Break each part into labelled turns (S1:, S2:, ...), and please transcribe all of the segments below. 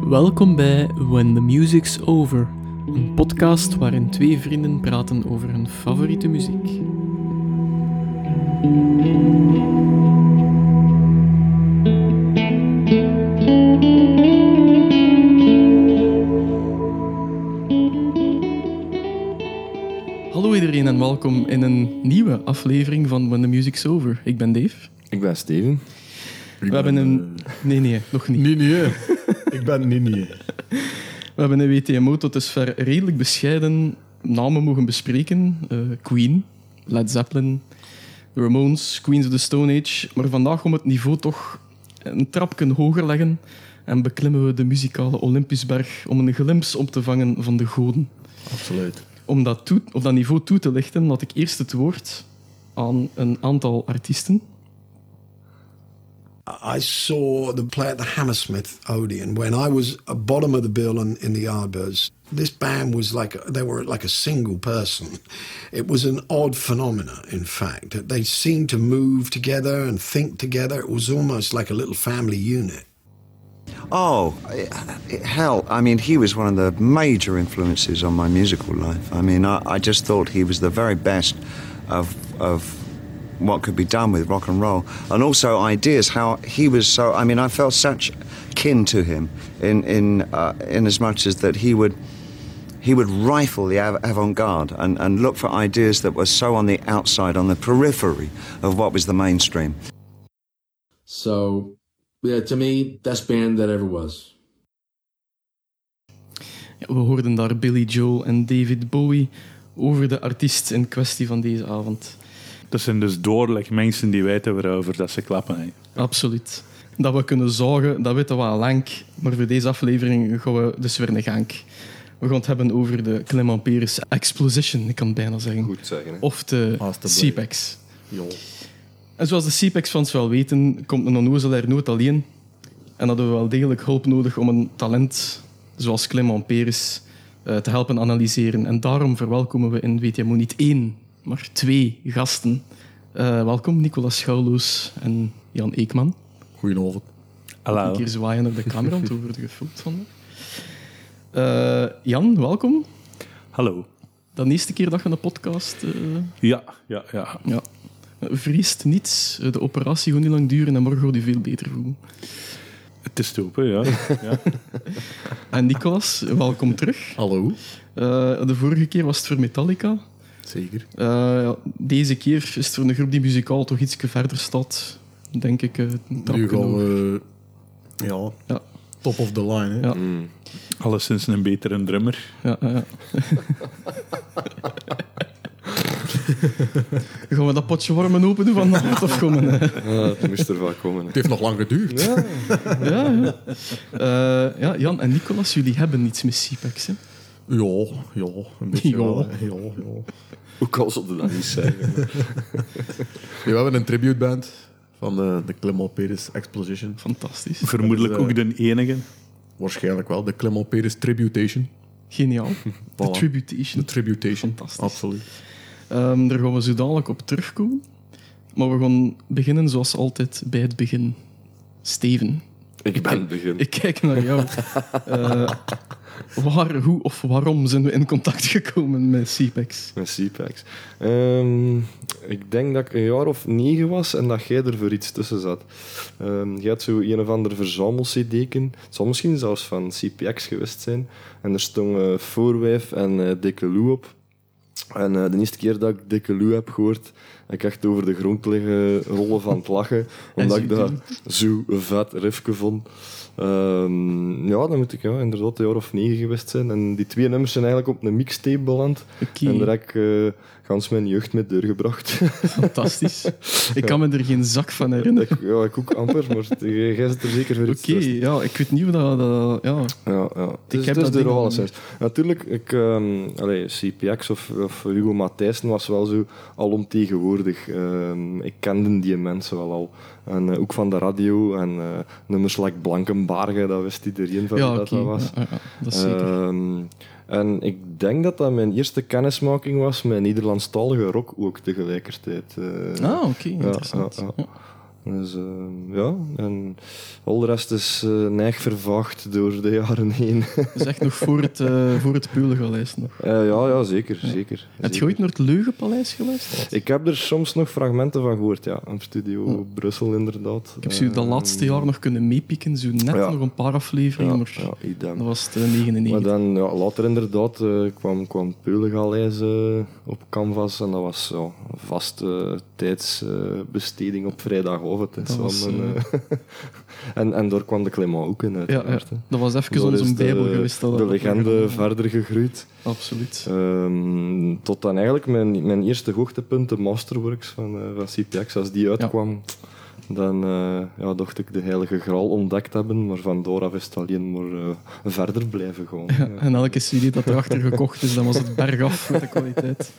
S1: Welkom bij When the Music's Over, een podcast waarin twee vrienden praten over hun favoriete muziek. Hallo iedereen en welkom in een nieuwe aflevering van When the Music's Over. Ik ben Dave.
S2: Ik ben Steven.
S1: We hebben
S3: eh,
S1: een. Nee, nee, nog niet.
S4: Nee, nee. Ik ben nee, nee.
S1: We hebben in WTMO tot dusver redelijk bescheiden namen mogen bespreken. Eh, Queen, Led Zeppelin, The Ramones, Queens of the Stone Age. Maar vandaag om het niveau toch een trapje hoger leggen en beklimmen we de muzikale Olympischberg om een glimps op te vangen van de goden.
S4: Absoluut.
S1: Om dat, toe, op dat niveau toe te lichten, laat ik eerst het woord aan een aantal artiesten.
S5: I saw them play at the Hammersmith Odeon when I was a bottom of the bill in, in the Yardbirds. This band was like a, they were like a single person. It was an odd phenomena, in fact, that they seemed to move together and think together. It was almost like a little family unit.
S6: Oh, eh, eh, hell. I mean, he was one of the major influences on my musical life. I mean, I, I just thought he was the very best of, of what could be done with rock and roll. And also ideas, how he was so. I mean, I felt such kin to him in, in, uh, in as much as that he would. He would rifle the av- avant-garde and, and look for ideas that were so on the outside, on the periphery of what was the mainstream.
S3: So, yeah, to me, best band that ever was.
S1: Ja, we hoorden daar Billy Joel en David Bowie over de artiest in kwestie van deze avond.
S7: Dat zijn dus doorlijk mensen die weten waarover dat ze klappen. hè.
S1: Absoluut. Dat we kunnen zorgen, dat weten we al lang. Maar voor deze aflevering gaan we dus weer naar Genk. We gaan het hebben over de Clement Peres Exposition, ik kan het bijna zeggen.
S2: Goed zeggen, hè.
S1: Of de
S4: Alstublieft.
S1: CPEX. En zoals de E CPEX fans wel weten, komt een onnozelaar nooit alleen. En hadden we wel degelijk hulp nodig om een talent zoals Clement Peres eh, te helpen analyseren. En daarom verwelkomen we in WTMO niet één, maar twee gasten. Eh, welkom Nicolas Schouwloos en Jan Eekman.
S4: Goedenavond.
S7: Hallo.
S1: Een keer zwaaien naar de camera, want over de gefilmd van. Eh, Jan, welkom.
S7: Hallo.
S1: De eerste keer dat je een podcast eh
S7: Ja, ja, ja.
S1: ja. vriest niets. Eh, De operatie gaat niet lang duren en morgen gaat je veel beter voelen.
S7: Het is stoepen, ja. ja.
S1: En Nicolas, welkom terug.
S4: Hallo.
S1: Eh, de vorige keer was het voor Metallica.
S4: Zeker.
S1: Eh, ja, deze keer is het voor een groep die muzikaal toch iets verder staat. Denk ik. eh, een trapje
S4: Nu gaan
S1: hoger.
S4: we... eh, Ja,
S1: Ja.
S4: top of the line, hè.
S1: Ja.
S7: Alleszins een betere drummer.
S1: Ja, ja, ja. Gaan we dat potje warmen open doen vanavond of komen? eh?
S2: Ah, het moest er wel komen. hè.
S4: Het heeft nog lang geduurd.
S1: Ja, ja. Eh, ja, Jan en Nicolas, jullie hebben niets met CPEX. Hè?
S4: Ja, ja. Een beetje
S1: Ja.
S4: wel, hè. ja, ja.
S2: Hoe kan ze dat niet zeggen?
S4: Ja, we hebben een tributeband van eh, de, de Clement Peres Exposition.
S1: Fantastisch.
S7: Vermoedelijk
S4: Dat is,
S7: ook de enige.
S4: Waarschijnlijk wel. De Clement Peres Tributation.
S1: Geniaal. De
S4: Voilà.
S1: Tributation.
S4: De Tributation.
S1: Fantastisch.
S4: Absoluut.
S1: Ehm, daar gaan we zo dadelijk op terugkomen. Maar we gaan beginnen zoals altijd bij het begin. Steven,
S2: Ik ben het begin.
S1: ik kijk naar jou. Eh, waar, hoe of waarom zijn we in contact gekomen met E CPEX?
S2: Met CPAX. Ehm, ik denk dat ik een jaar of negen was en dat jij er voor iets tussen zat. Ehm je had zo een of ander verzamel-cd'ken. Het zal misschien zelfs van CPX geweest zijn. En er stonden Voorwijf en eh Dikke Lou op. En eh, de eerste keer dat ik Dikke Lou heb gehoord, heb ik echt over de grond liggen rollen van het lachen. Omdat
S1: zo
S2: ik dat zo vet riffje vond. Ehm, ja, dan moet ik ja, inderdaad een jaar of negen geweest zijn. En die twee nummers zijn eigenlijk op een mixtape beland.
S1: Oké.
S2: En daar heb ik eh, gans mijn jeugd mee doorgebracht.
S1: Fantastisch. Ik kan me er geen zak van herinneren.
S2: ik, ja, ik ook amper, maar t- jij jij zit er zeker voor iets
S1: Oké,
S2: tussen.
S1: ja, ik weet niet hoe dat... dat ja.
S2: Ja, ja. Het is,
S1: heb
S2: het is
S1: dat
S2: de
S1: ding
S2: rol
S1: al
S2: alleszins. Natuurlijk, ik, ehm, allee, CPX of, of Hugo Matthijssen was wel zo alomtegenwoordig. Ehm, ik kende die mensen wel al. En eh, ook van de radio en eh, nummers like Blankenbargen, dat wist iedereen van
S1: Ja,
S2: wie dat,
S1: oké.
S2: dat was.
S1: Ja, ja, ja, dat is zeker.
S2: Ehm, en ik denk dat dat mijn eerste kennismaking was met Nederlandstalige rock ook tegelijkertijd. Eh,
S1: ah, oké,
S2: ja,
S1: interessant.
S2: ja,
S1: Ja,
S2: ja. Dus eh, ja, en al de rest is eh neig vervaagd door de jaren heen.
S1: Dat is echt nog voor het, eh voor het Pulengaleis nog.
S2: Eh, ja, ja, zeker, zeker.
S1: Heb je
S2: zeker.
S1: ooit naar het Leugenpaleis geweest?
S2: Ik heb er soms nog fragmenten van gehoord, ja. Op Studio Brussel, inderdaad. Ehm,
S1: Ik heb ze dat laatste jaar nog kunnen meepikken, zo net
S2: eh, ja.
S1: nog een paar afleveringen, maar
S2: Ja, idem.
S1: dat was het eh, 99.
S2: Maar dan, ja, later inderdaad, eh, kwam, kwam Peulengaleis eh, op canvas en dat was zo een vaste tijdsbesteding op vrijdagavond. hè.
S1: Dat was,
S2: Samen,
S1: eh,
S2: eh, en, en daar kwam de Clément ook in,
S1: ja, ja,
S2: uiteraard. hè.
S1: dat was even
S2: Daar is
S1: onze
S2: de-
S1: bijbel geweest. Dat
S2: De
S1: dat-
S2: legende
S1: ja,
S2: verder gegroeid.
S1: Absoluut.
S2: Ehm, tot dan eigenlijk mijn, mijn eerste hoogtepunt, de Masterworks van, eh, van CPX. Als die uitkwam, dan eh, ja, dacht ik de heilige graal ontdekt hebben. Maar van af is het alleen maar eh, verder blijven gewoon.
S1: Ja, en elke CD dat erachter gekocht is, dan was het bergaf met de kwaliteit.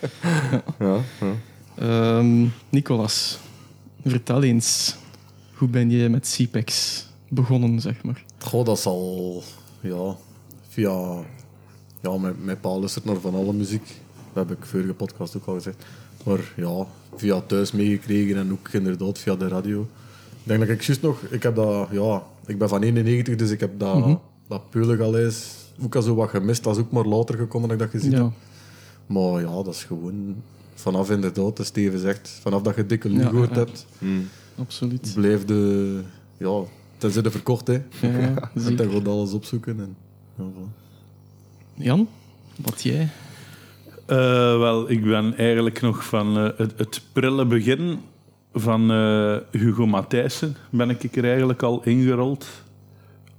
S2: Ja, ja.
S1: Ehm, Nicolas, vertel eens, hoe ben je met CPEX begonnen, zeg maar?
S4: Goh, dat zal ja, via. Ja, mijn, mijn pa luistert naar van alle muziek. Dat heb ik vorige podcast ook al gezegd. Maar ja, via thuis meegekregen en ook inderdaad via de radio. Ik denk dat ik juist nog, ik heb dat, ja, ik ben van 91, dus ik heb dat,
S1: Mhm.
S4: dat Peulengaleis ook al zo wat gemist. Dat is ook maar later gekomen dat ik dat gezien heb.
S1: Ja,
S4: Maar ja, dat is gewoon vanaf inderdaad, als Steven zegt, vanaf dat je dikke Lou
S1: Ja,
S4: gehoord
S1: ja, ja.
S4: hebt,
S1: absoluut.
S4: blijf de, ja, tenzij de verkocht hè.
S1: Ja, ja,
S4: Je moet
S1: zeker.
S4: daar gewoon alles opzoeken en ja, voilà.
S1: Jan, wat jij?
S7: Eh, wel, ik ben eigenlijk nog van eh, het, het prille begin van eh, Hugo Matthijssen ben ik er eigenlijk al ingerold.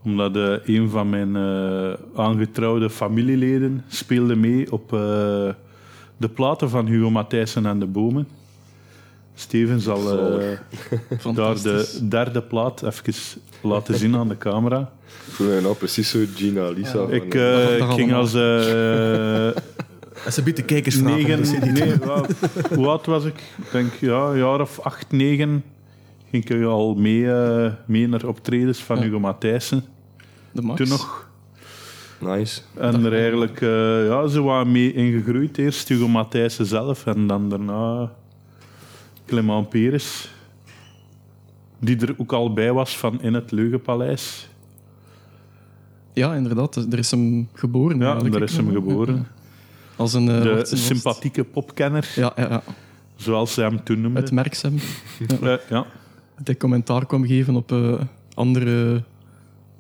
S7: Omdat eh, een van mijn eh, aangetrouwde familieleden speelde mee op eh, de platen van Hugo Matthijssen en de Bomen. Steven zal eh, daar
S1: Fantastisch.
S7: de derde plaat even laten zien aan de camera.
S2: Ik voel mij nou precies zo Gina Lisa. van,
S7: Ik,
S2: eh,
S7: eh,
S1: dat
S7: ik ging
S1: allemaal.
S7: als eh,
S4: En ze biedt de kijkers
S7: negen, nee, wa- hoe oud was ik? Ik denk, ja, een jaar of acht, negen ging ik al mee, eh, mee naar optredens van Hugo Matthijssen.
S1: De Max?
S7: Toen nog.
S2: Nice.
S7: En er eigenlijk eh, ja, zo wat mee ingegroeid. Eerst Hugo Matthijssen zelf en dan daarna Clement Peres. Die er ook al bij was van In het Leugenpaleis.
S1: Ja, inderdaad. Er is hem geboren.
S7: Ja, en
S1: eigenlijk,
S7: daar
S1: hè.
S7: is hem geboren.
S1: Als een... eh, wat
S7: De
S1: was het?
S7: sympathieke popkenner,
S1: Ja, ja, ja.
S7: zoals ze hem toen noemde.
S1: Het merksem.
S7: Eh, ja.
S1: Dat hij commentaar kwam geven op eh, andere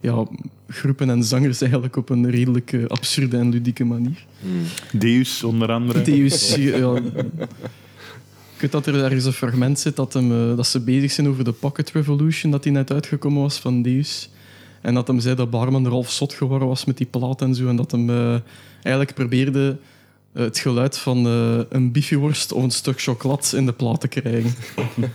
S1: ja, groepen en zangers eigenlijk op een redelijk eh, absurde en ludieke manier.
S7: Deus onder andere.
S1: Deus, eh, ja. Ik weet dat er ergens een fragment zit dat, hem, eh, dat ze bezig zijn over de Pocket Revolution, dat die net uitgekomen was van Deus. En dat hem zei dat Barman Ralf zot geworden was met die plaat en zo. En dat hem eh, eigenlijk probeerde eh, het geluid van eh, een biefjeworst of een stuk chocolat in de plaat te krijgen.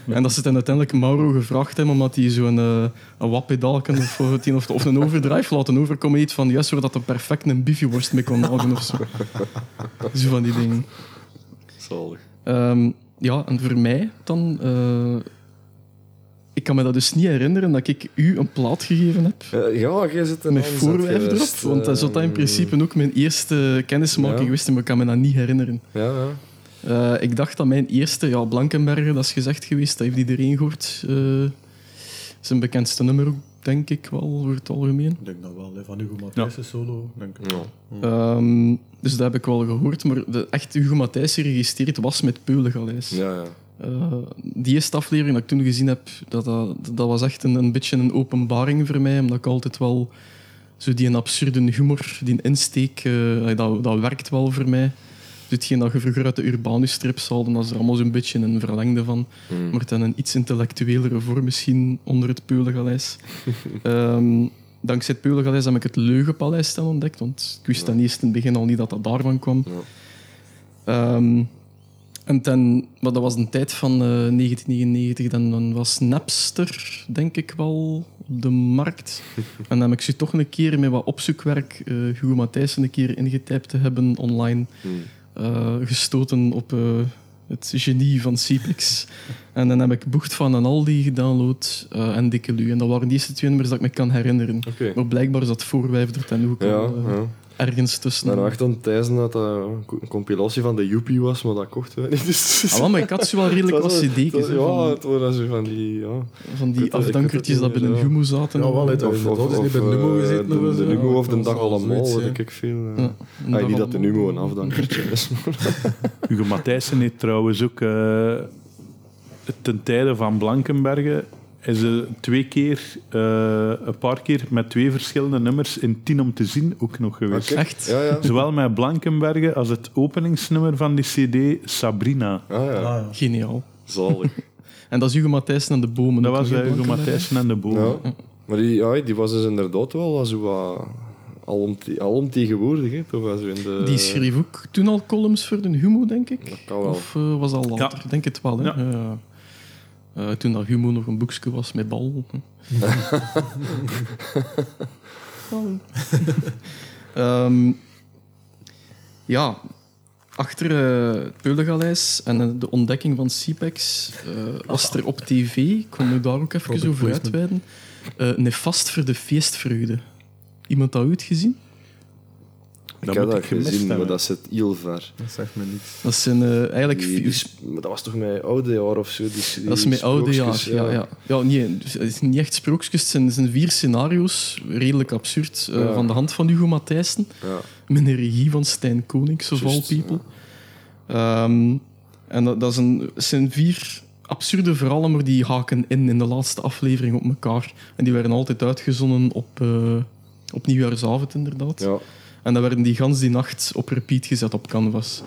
S1: en dat ze het dan uiteindelijk Mauro gevraagd hebben, omdat hij zo'n eh een wappedalken of, eh, of, of een overdrive laten overkomen. Iets van juist waar dat er perfect een biefjeworst mee kon houden of zo. Zo van die dingen.
S2: Zalig.
S1: Ehm, ja, en voor mij dan... eh, ik kan me dat dus niet herinneren dat ik u een plaat gegeven heb.
S2: Eh, ja, jij zit een
S1: Met
S2: aanzet
S1: voorwerp erop.
S2: geweest,
S1: Want dat zou dat in
S2: ehm,
S1: principe ook mijn eerste kennismaking
S2: Ja.
S1: geweest zijn, maar ik kan me dat niet herinneren.
S2: Ja, ja.
S1: Eh, ik dacht dat mijn eerste, ja, Blankenberger, dat is gezegd geweest, dat heeft iedereen gehoord. Eh, zijn bekendste nummer, ook, denk ik wel, over het algemeen.
S4: Ik denk dat wel, hè, van Hugo Matthijssen solo. Denk ik.
S1: Ehm, dus dat heb ik wel gehoord, maar de echte Hugo Matthijs geregistreerd was met Peulengaleis.
S2: ja, ja.
S1: Eh, die eerste aflevering dat ik toen gezien heb, dat, dat, dat was echt een, een beetje een openbaring voor mij. Omdat ik altijd wel zo die absurde humor, die insteek, eh, dat, dat werkt wel voor mij. Dus hetgeen dat je vroeger uit de Urbanus strips haalde, dat is er allemaal zo'n beetje een verlengde van. Maar dan een iets intellectuelere vorm misschien onder het Peulengaleis. Ehm, dankzij het Peulengaleis heb ik het Leugenpaleis dan ontdekt, want ik wist dan eerst in het begin al niet dat dat daarvan kwam. Ehm, en ten, maar dat was een tijd van eh, 1999, dan, dan was Napster, denk ik wel, op de markt. en dan heb ik ze toch een keer met wat opzoekwerk eh Hugo Matthijssen een keer ingetypt te hebben online.
S2: Hmm.
S1: eh, gestoten op eh, het genie van CPX. en dan heb ik Bocht van en Aldi gedownload eh, en Dikke Lu. En dat waren de eerste twee nummers dat ik me kan herinneren.
S2: Oké.
S1: Maar blijkbaar is dat voorwijf er ten hoek.
S2: Ja,
S1: al, eh,
S2: ja.
S1: ergens tussen.
S2: Daarna nou echt ontijzen dat dat een compilatie van de Joepie was, maar dat kochten we niet. Dus,
S1: Ah, wel, maar ik had zo wel redelijk
S2: Het
S1: wat
S2: was wel-
S1: cd's.
S2: het was- Ja,
S1: Van,
S2: het waren zo van die... Ja.
S1: van die
S2: ik weet het- ik weet
S1: afdankertjes
S2: het
S1: dat
S2: niet
S1: binnen
S2: meer,
S1: Humo zaten.
S4: Ja, wel, het-
S2: Of,
S4: dat is niet bij de
S2: eh,
S4: Numo gezeten
S2: De,
S4: of
S2: de
S4: zo.
S2: Numo of de
S4: Dat
S2: dag
S4: zal zoiets
S2: allemaal,
S4: zijn.
S2: weet ik veel. eh.
S1: Ja, en
S2: Ah, niet dat de
S1: daarvan-
S2: Numo een afdankertje is.
S7: Hugo Matthijssen heeft trouwens ook eh, ten tijde van Blankenbergen is ze twee keer, eh, een paar keer met twee verschillende nummers in Tien om te zien ook nog geweest.
S2: Oké.
S1: Echt?
S2: Ja, ja.
S7: Zowel met Blankenbergen als het openingsnummer van die CD Sabrina.
S2: Ah, ja.
S4: Ah, ja.
S1: Geniaal.
S2: Zalig.
S1: En dat is Hugo Matthijssen en de bomen.
S7: Dat
S1: ook
S7: was
S1: nog, hè,
S7: eh, Hugo
S1: Blankenberg?
S7: Matthijssen en de Boom. Eh,
S2: Ja. Maar die, ja, die was dus inderdaad wel zo wat alomte- alomtegenwoordig. Hè. Toen was hij in de...
S1: Die schreef ook toen al columns voor de Humo, denk ik.
S2: Dat kan wel.
S1: Of eh, was dat later? Ik denk het wel. Hè?
S7: Ja.
S1: Ja. Eh, toen dat Humo nog een boekje was met bal. hè. Bal. Ehm, ja, achter eh, het Peulengaleis en eh, de ontdekking van CPEX eh, was er op tv, ik kon nu daar ook even
S4: Product
S1: over
S4: placement.
S1: uitweiden, eh nefast voor de feestvreugde. Iemand dat ooit gezien?
S2: Ik
S7: moet
S2: heb dat
S7: ik gemist
S2: gezien, maar
S7: hebben.
S2: dat zit heel ver.
S4: dat zegt me niks.
S1: Dat zijn eh, eigenlijk...
S2: Die-
S1: vier-
S2: die sp- maar dat was toch mijn oude jaar of zo? Die, die
S1: Dat is mijn oude jaar.
S2: sprookjes,
S1: Ja, ja. ja nee, het is niet echt sprookjes. Het zijn, het zijn vier scenario's, redelijk absurd, eh,
S2: Ja.
S1: van de hand van Hugo Matthijssen,
S2: Ja.
S1: met een regie van Stijn Konings, of all
S2: Juist,
S1: people. Ehm, en dat, dat is een, het zijn vier absurde verhalen, maar die haken in in de laatste aflevering op elkaar. En die werden altijd uitgezonden op, eh, op Nieuwjaarsavond, inderdaad.
S2: Ja.
S1: En dan werden die gans die nacht op repeat gezet op Canvas.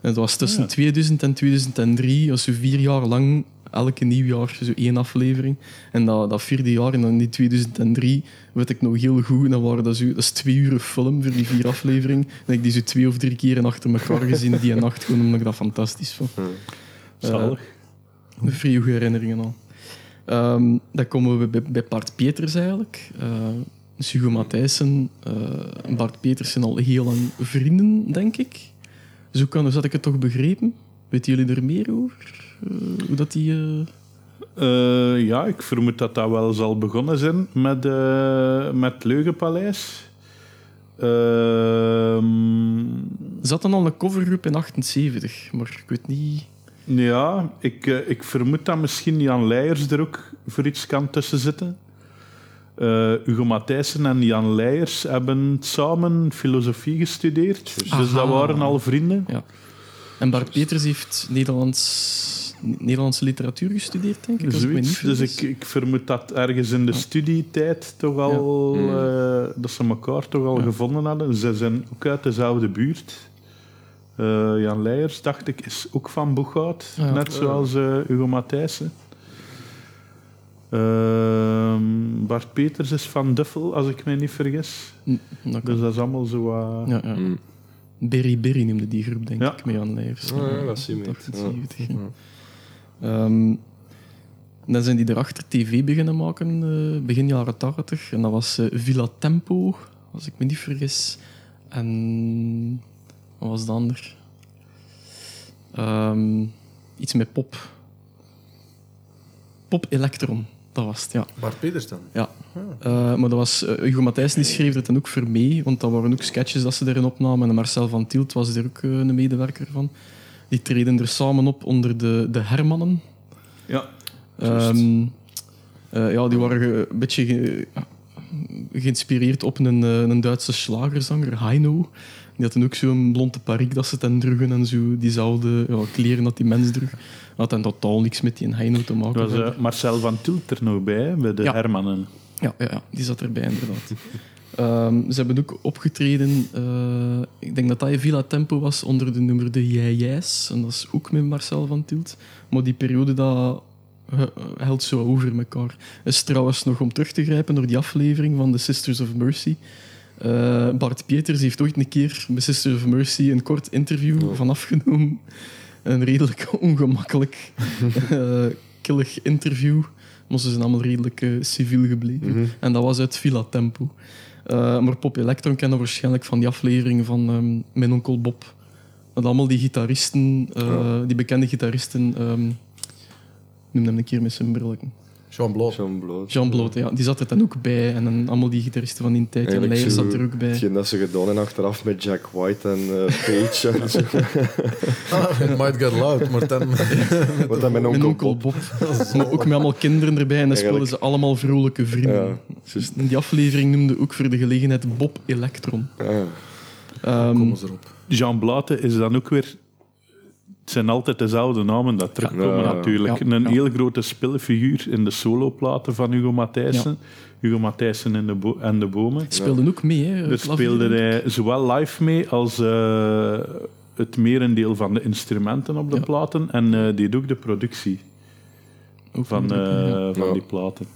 S1: En dat was tussen 2000 en 2003, als we vier jaar lang, elke nieuwjaar, zo één aflevering. En dat, dat vierde jaar, en dan in die 2003, weet ik nog heel goed, dan waren dat, zo, dat is twee uur film voor die vier afleveringen. En ik die zo twee of drie keren achter elkaar gezien die nacht, gewoon omdat ik dat fantastisch vond.
S7: Zalig.
S1: Een vrij goede herinneringen al. Ehm, dan komen we bij, bij Bart Peters eigenlijk. Eh dus Hugo Matthijssen eh, en Bart Peters zijn al heel lang vrienden, denk ik. Zo kan, dus had ik het toch begrepen. Weten jullie er meer over? Eh, hoe dat die... eh,
S7: Eh, ja, ik vermoed dat dat wel zal begonnen zijn met, eh met Leugenpaleis. Ehm
S1: Er zat dan al een covergroep in 78, maar ik weet niet...
S7: Ja, ik, eh, ik vermoed dat misschien Jan Leijers er ook voor iets kan tussen zitten. Eh, Hugo Matthijssen en Jan Leijers hebben samen filosofie gestudeerd. Dus
S1: Aha.
S7: dat waren al vrienden.
S1: En Bart Peters heeft Nederlands, Nederlandse literatuur gestudeerd, denk ik. als ik me niet
S7: Zoiets. Dus
S1: vergis.
S7: ik, ik vermoed dat ergens in de studietijd toch al... eh, dat ze elkaar toch al gevonden hadden. Ze zijn ook uit dezelfde buurt. Eh, Jan Leijers, dacht ik, is ook van Boeghout.
S1: Ja.
S7: Net zoals eh, Hugo Matthijssen. Ehm, Bart Peters is van Duffel, als ik mij niet vergis.
S1: Hm, dat kan.
S7: Dus dat is allemaal zo... wat-
S1: Ja, ja.
S2: Mm.
S1: eh, Berry Berry noemde die groep, denk
S7: Ja.
S1: ik, mee aan lijfs.
S2: Ah, ja, dat zie je niet.
S1: 78, ja. Ehm, dan zijn die erachter tv beginnen maken, eh, begin jaren 80. En dat was eh, Villa Tempo, als ik me niet vergis. En wat was de ander? Ehm, iets met pop. Pop Electron, dat was het, ja.
S4: Bart Peters dan?
S1: Ja. Eh, maar dat was, eh, Hugo Matthijs die schreef dat dan ook voor mee, want dat waren ook sketches dat ze erin opnamen. En Marcel van Tielt was er ook eh, een medewerker van. Die treden er samen op onder de, de Hermannen.
S7: Ja.
S1: Ehm, eh, ja, die waren ge- een beetje ge- geïnspireerd op een, eh, een Duitse slagerzanger, Heino. Die had dan ook zo'n blonde parik dat ze ten droegen en zo. Diezelfde ja, kleren dat die mens droeg. Dat had dan totaal niks met die Heino te maken.
S7: Er was eh, Marcel van Tilt er nog bij, hè, bij de
S1: Ja.
S7: Hermannen.
S1: Ja, ja, ja, die zat erbij inderdaad. Ehm, ze hebben ook opgetreden, eh, ik denk dat dat in Villa Tempo was, onder de nummer De Jij Jijs. En dat is ook met Marcel van Tielt. Maar die periode dat he- held zo over elkaar. Is trouwens nog om terug te grijpen door die aflevering van The Sisters of Mercy. Eh, Bart Pieters heeft ooit een keer met Sisters of Mercy een kort interview van afgenomen. Een redelijk ongemakkelijk, eh, killig interview. Maar ze zijn allemaal redelijk eh, civiel gebleven. En dat was uit Villa Tempo. Eh, maar Pop Electron kennen we waarschijnlijk van die aflevering van ehm, Mijn Onkel Bob. Dat allemaal die gitaristen, eh, die bekende gitaristen... ehm, noem hem een keer met zijn brillen.
S4: Jean Blot.
S2: Jean Bloot.
S1: Jean Bloot, ja, die zat er dan ook bij. En dan allemaal die gitaristen van die tijd. En Leijer
S2: zo
S1: zat er ook bij.
S2: Hetgeen dat ze gedaan en achteraf met Jack White en eh, Page. en zo.
S4: Ah, it might get loud, maar dan...
S2: Wat dan mijn
S1: Mijn
S2: onkel
S1: onkel
S2: Bob.
S1: Bob. Maar ook met allemaal kinderen erbij. En dan speelden ze
S2: Eigenlijk.
S1: allemaal vrolijke vrienden.
S2: Ja, juist.
S1: En die aflevering noemde ook voor de gelegenheid Bob Electron.
S2: Ja.
S1: Ehm,
S4: Kom eens erop.
S7: Jean Blaten is dan ook weer... Het zijn altijd dezelfde namen dat terugkomen,
S2: Ja.
S7: natuurlijk.
S1: Ja,
S7: Een
S1: ja.
S7: heel grote spillenfiguur in de soloplaten van Hugo Matthijssen. Hugo Matthijssen en de, bo- en de bomen.
S1: speelden ook mee, hè?
S7: Daar
S1: klavier.
S7: speelde hij zowel live mee als eh, het merendeel van de instrumenten op de
S1: Ja.
S7: platen. En eh, deed ook de productie
S1: Ook
S7: van,
S1: mee.
S7: eh,
S1: Ja.
S7: van
S2: Ja.
S7: die platen.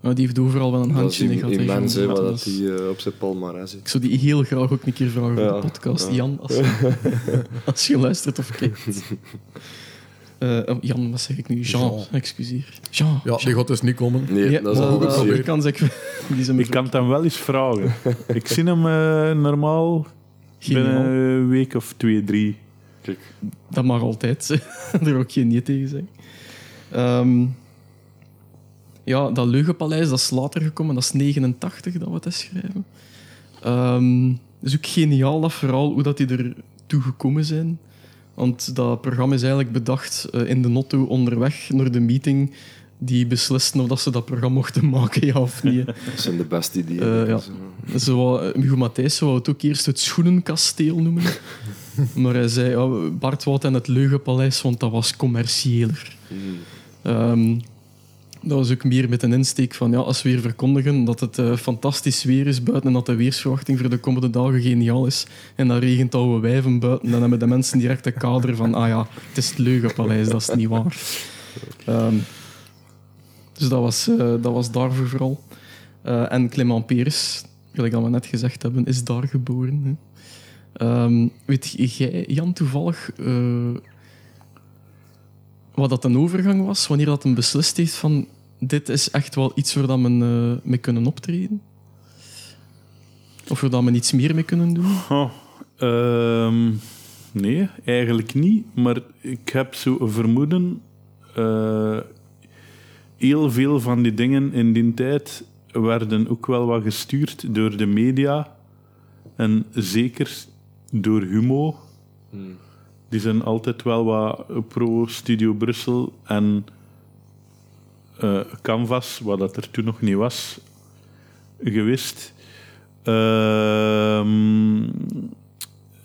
S1: Maar die heeft overal wel een
S2: Dat is
S1: handje in
S2: im-
S1: gehad. hè,
S2: immens
S1: Jean
S2: hè, wat
S1: Blot.
S2: dat die eh, op zijn palmarès zit.
S1: Ik zou die heel graag ook een keer vragen
S2: Ja,
S1: op de podcast.
S2: ja.
S1: Jan, als je, als je luistert of kijkt. Eh, oh, Jan, wat zeg ik nu? Jean,
S4: Jean.
S1: excuseer. Jean.
S4: Ja, die gaat dus niet komen.
S2: Nee,
S1: Ja,
S2: dat is ook
S1: maar
S2: een
S1: dat
S2: zeer.
S1: kan zeggen. Die zijn
S7: Ik kan het hem wel eens vragen. Ik zie hem eh, normaal
S1: Geniaal.
S7: binnen een week of twee, drie.
S2: Kijk,
S1: Dat mag altijd. er ook geen nee tegen zeggen. Ehm, ja, dat Leugenpaleis, dat is later gekomen. Dat is 89 dat we het schrijven. Ehm het is ook geniaal, dat verhaal, hoe dat die er toe gekomen zijn. Want dat programma is eigenlijk bedacht eh, in de notto onderweg naar de meeting. Die beslisten of dat ze dat programma mochten maken, ja of niet. hè.
S2: dat zijn de beste ideeën.
S1: Eh, ja.
S2: Zo.
S1: Zo wou- Hugo Matthijs wou het ook eerst het schoenenkasteel noemen. maar hij zei ja, Bart wou het en het Leugenpaleis, want dat was commerciëler. Ehm, dat was ook meer met een insteek van ja, als we weer verkondigen dat het eh, fantastisch weer is buiten en dat de weersverwachting voor de komende dagen geniaal is en dan regent oude wijven buiten, dan hebben de mensen direct een kader van ah ja, het is het Leugenpaleis, dat is niet waar. Ehm, dus dat was, eh, dat was daarvoor vooral. Eh, en Clement Peres, gelijk dat we net gezegd hebben, is daar geboren. hè. Ehm, weet jij, Jan, toevallig eh, wat dat een overgang was, wanneer dat een beslist heeft van dit is echt wel iets waar dat men eh, mee kunnen optreden? Of waar dat men iets meer mee kunnen doen?
S7: Oh, ehm, nee, eigenlijk niet. Maar ik heb zo een vermoeden. eh, heel veel van die dingen in die tijd werden ook wel wat gestuurd door de media. En zeker door Humo. Die zijn altijd wel wat pro Studio Brussel en eh, Canvas, wat dat er toen nog niet was, geweest. Ehm,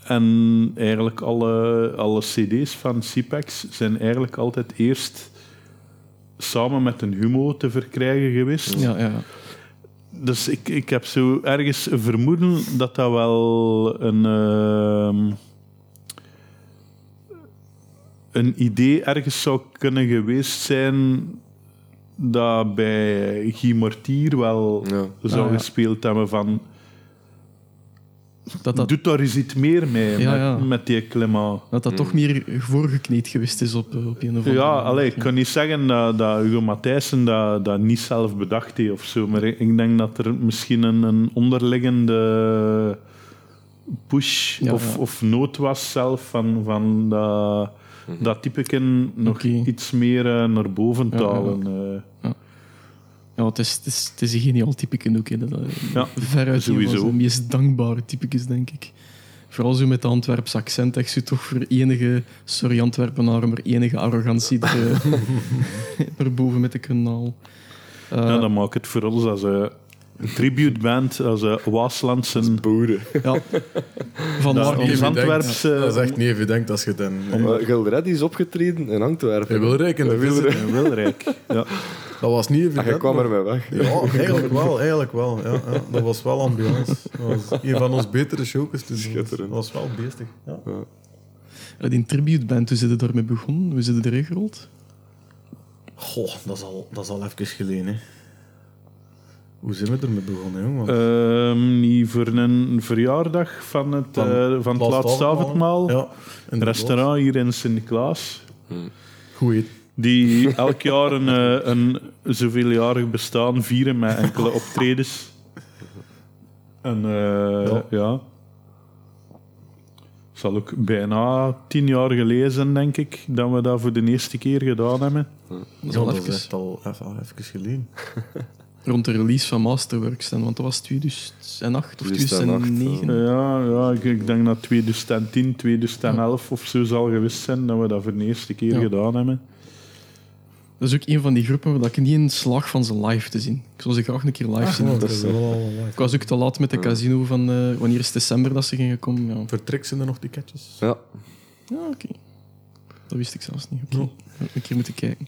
S7: en eigenlijk alle, alle cd's van CPAX zijn eigenlijk altijd eerst samen met een humo te verkrijgen geweest.
S1: Ja, ja, ja.
S7: Dus ik, ik heb zo ergens een vermoeden dat dat wel een, ehm, een idee ergens zou kunnen geweest zijn dat bij Guy Mortier wel
S2: Ja.
S7: zou
S1: Ah, ja.
S7: gespeeld hebben van
S1: Dat dat,
S7: doet daar eens iets meer mee
S1: Ja,
S7: met,
S1: ja.
S7: met die klimaat.
S1: dat, dat toch meer voorgekneed geweest is op, eh, op een of andere
S7: Hmm. Ja,
S1: manier.
S7: allee, ik kan niet zeggen dat, dat Hugo Matthijssen dat, dat niet zelf bedacht heeft of zo, maar ik, ik denk dat er misschien een, een onderliggende push
S1: Ja,
S7: of,
S1: ja.
S7: of nood was zelf van, van dat, dat typeken nog
S1: Oké.
S7: iets meer eh, naar boven te
S1: Ja, ja,
S7: halen. eh.
S1: Ja, het is, het is, het is een geniaal typeken ook. Hè. Dat, eh,
S7: Ja,
S1: veruit een
S7: sowieso.
S1: van de meest dankbare typekes, denk ik. Vooral zo met de Antwerps accent, echt zo toch voor enige, sorry Antwerpenaar, maar enige arrogantie er, eh, naar boven met de kanaal. Eh,
S7: ja, dat maakt het voor ons als een tributeband, als een Waaslandse...
S2: Boeren.
S1: Van
S7: Dat
S1: waar
S7: is
S1: die-
S7: ons
S4: Evident.
S7: Antwerps... eh,
S4: Dat is echt niet even denkt als je dan... Nee.
S2: Maar Gilred is opgetreden in Antwerpen.
S4: Je wil rekenen.
S2: Hij wil
S4: dat is-
S7: eh, Wilrijk, ja.
S4: Dat was niet
S2: Ah,
S4: evident.
S2: Hij kwam
S4: maar-
S2: ermee weg.
S4: Ja, eigenlijk wel, eigenlijk wel. Ja, ja. Dat was wel ambiance. Dat was een van ons betere showkes. Dus dat was- dat
S2: Schitterend.
S4: was wel beestig. Ja.
S1: eh, die tributeband, hoe zitten daarmee begonnen? Hoe zitten erin gerold?
S4: Goh, dat is al, dat is al even geleden. Hè. Hoe zijn we ermee begonnen, jongen?
S7: Ehm, niet voor een verjaardag van het,
S4: Van
S7: eh, van het laatste avondmaal.
S4: Ja,
S7: Een
S4: inderdaad.
S7: restaurant hier in Sint-Klaas.
S4: Goed eten.
S7: Die elk jaar een, eh, een zoveeljarig bestaan vieren met enkele optredens. En eh, ja. zal ook bijna tien jaar geleden zijn, denk ik, dat we dat voor de eerste keer gedaan hebben.
S1: Dat is
S4: Ja,
S1: al
S4: dat is
S1: even
S4: echt al even, al even geleden.
S1: rond de release van Masterworks. En, want dat was 2008 of
S2: 2008,
S1: 2009.
S7: eh, Ja, ja ik, ik denk dat 2010, 2011 of zo zal geweest zijn dat we dat voor de eerste keer
S1: Ja.
S7: gedaan hebben.
S1: Dat is ook een van die groepen waar ik niet in slaag van ze live te zien. Ik zou ze graag een keer live zien.
S4: Ah, dat is wel Ah.
S1: Ik was ook te laat met de casino van eh, wanneer is het december dat ze gingen komen. Ja,
S4: Vertrek zijn er nog ticketjes?
S2: Ja.
S1: Ja, oké. Dat wist ik zelfs niet. Oké. Had ik Een keer moeten kijken.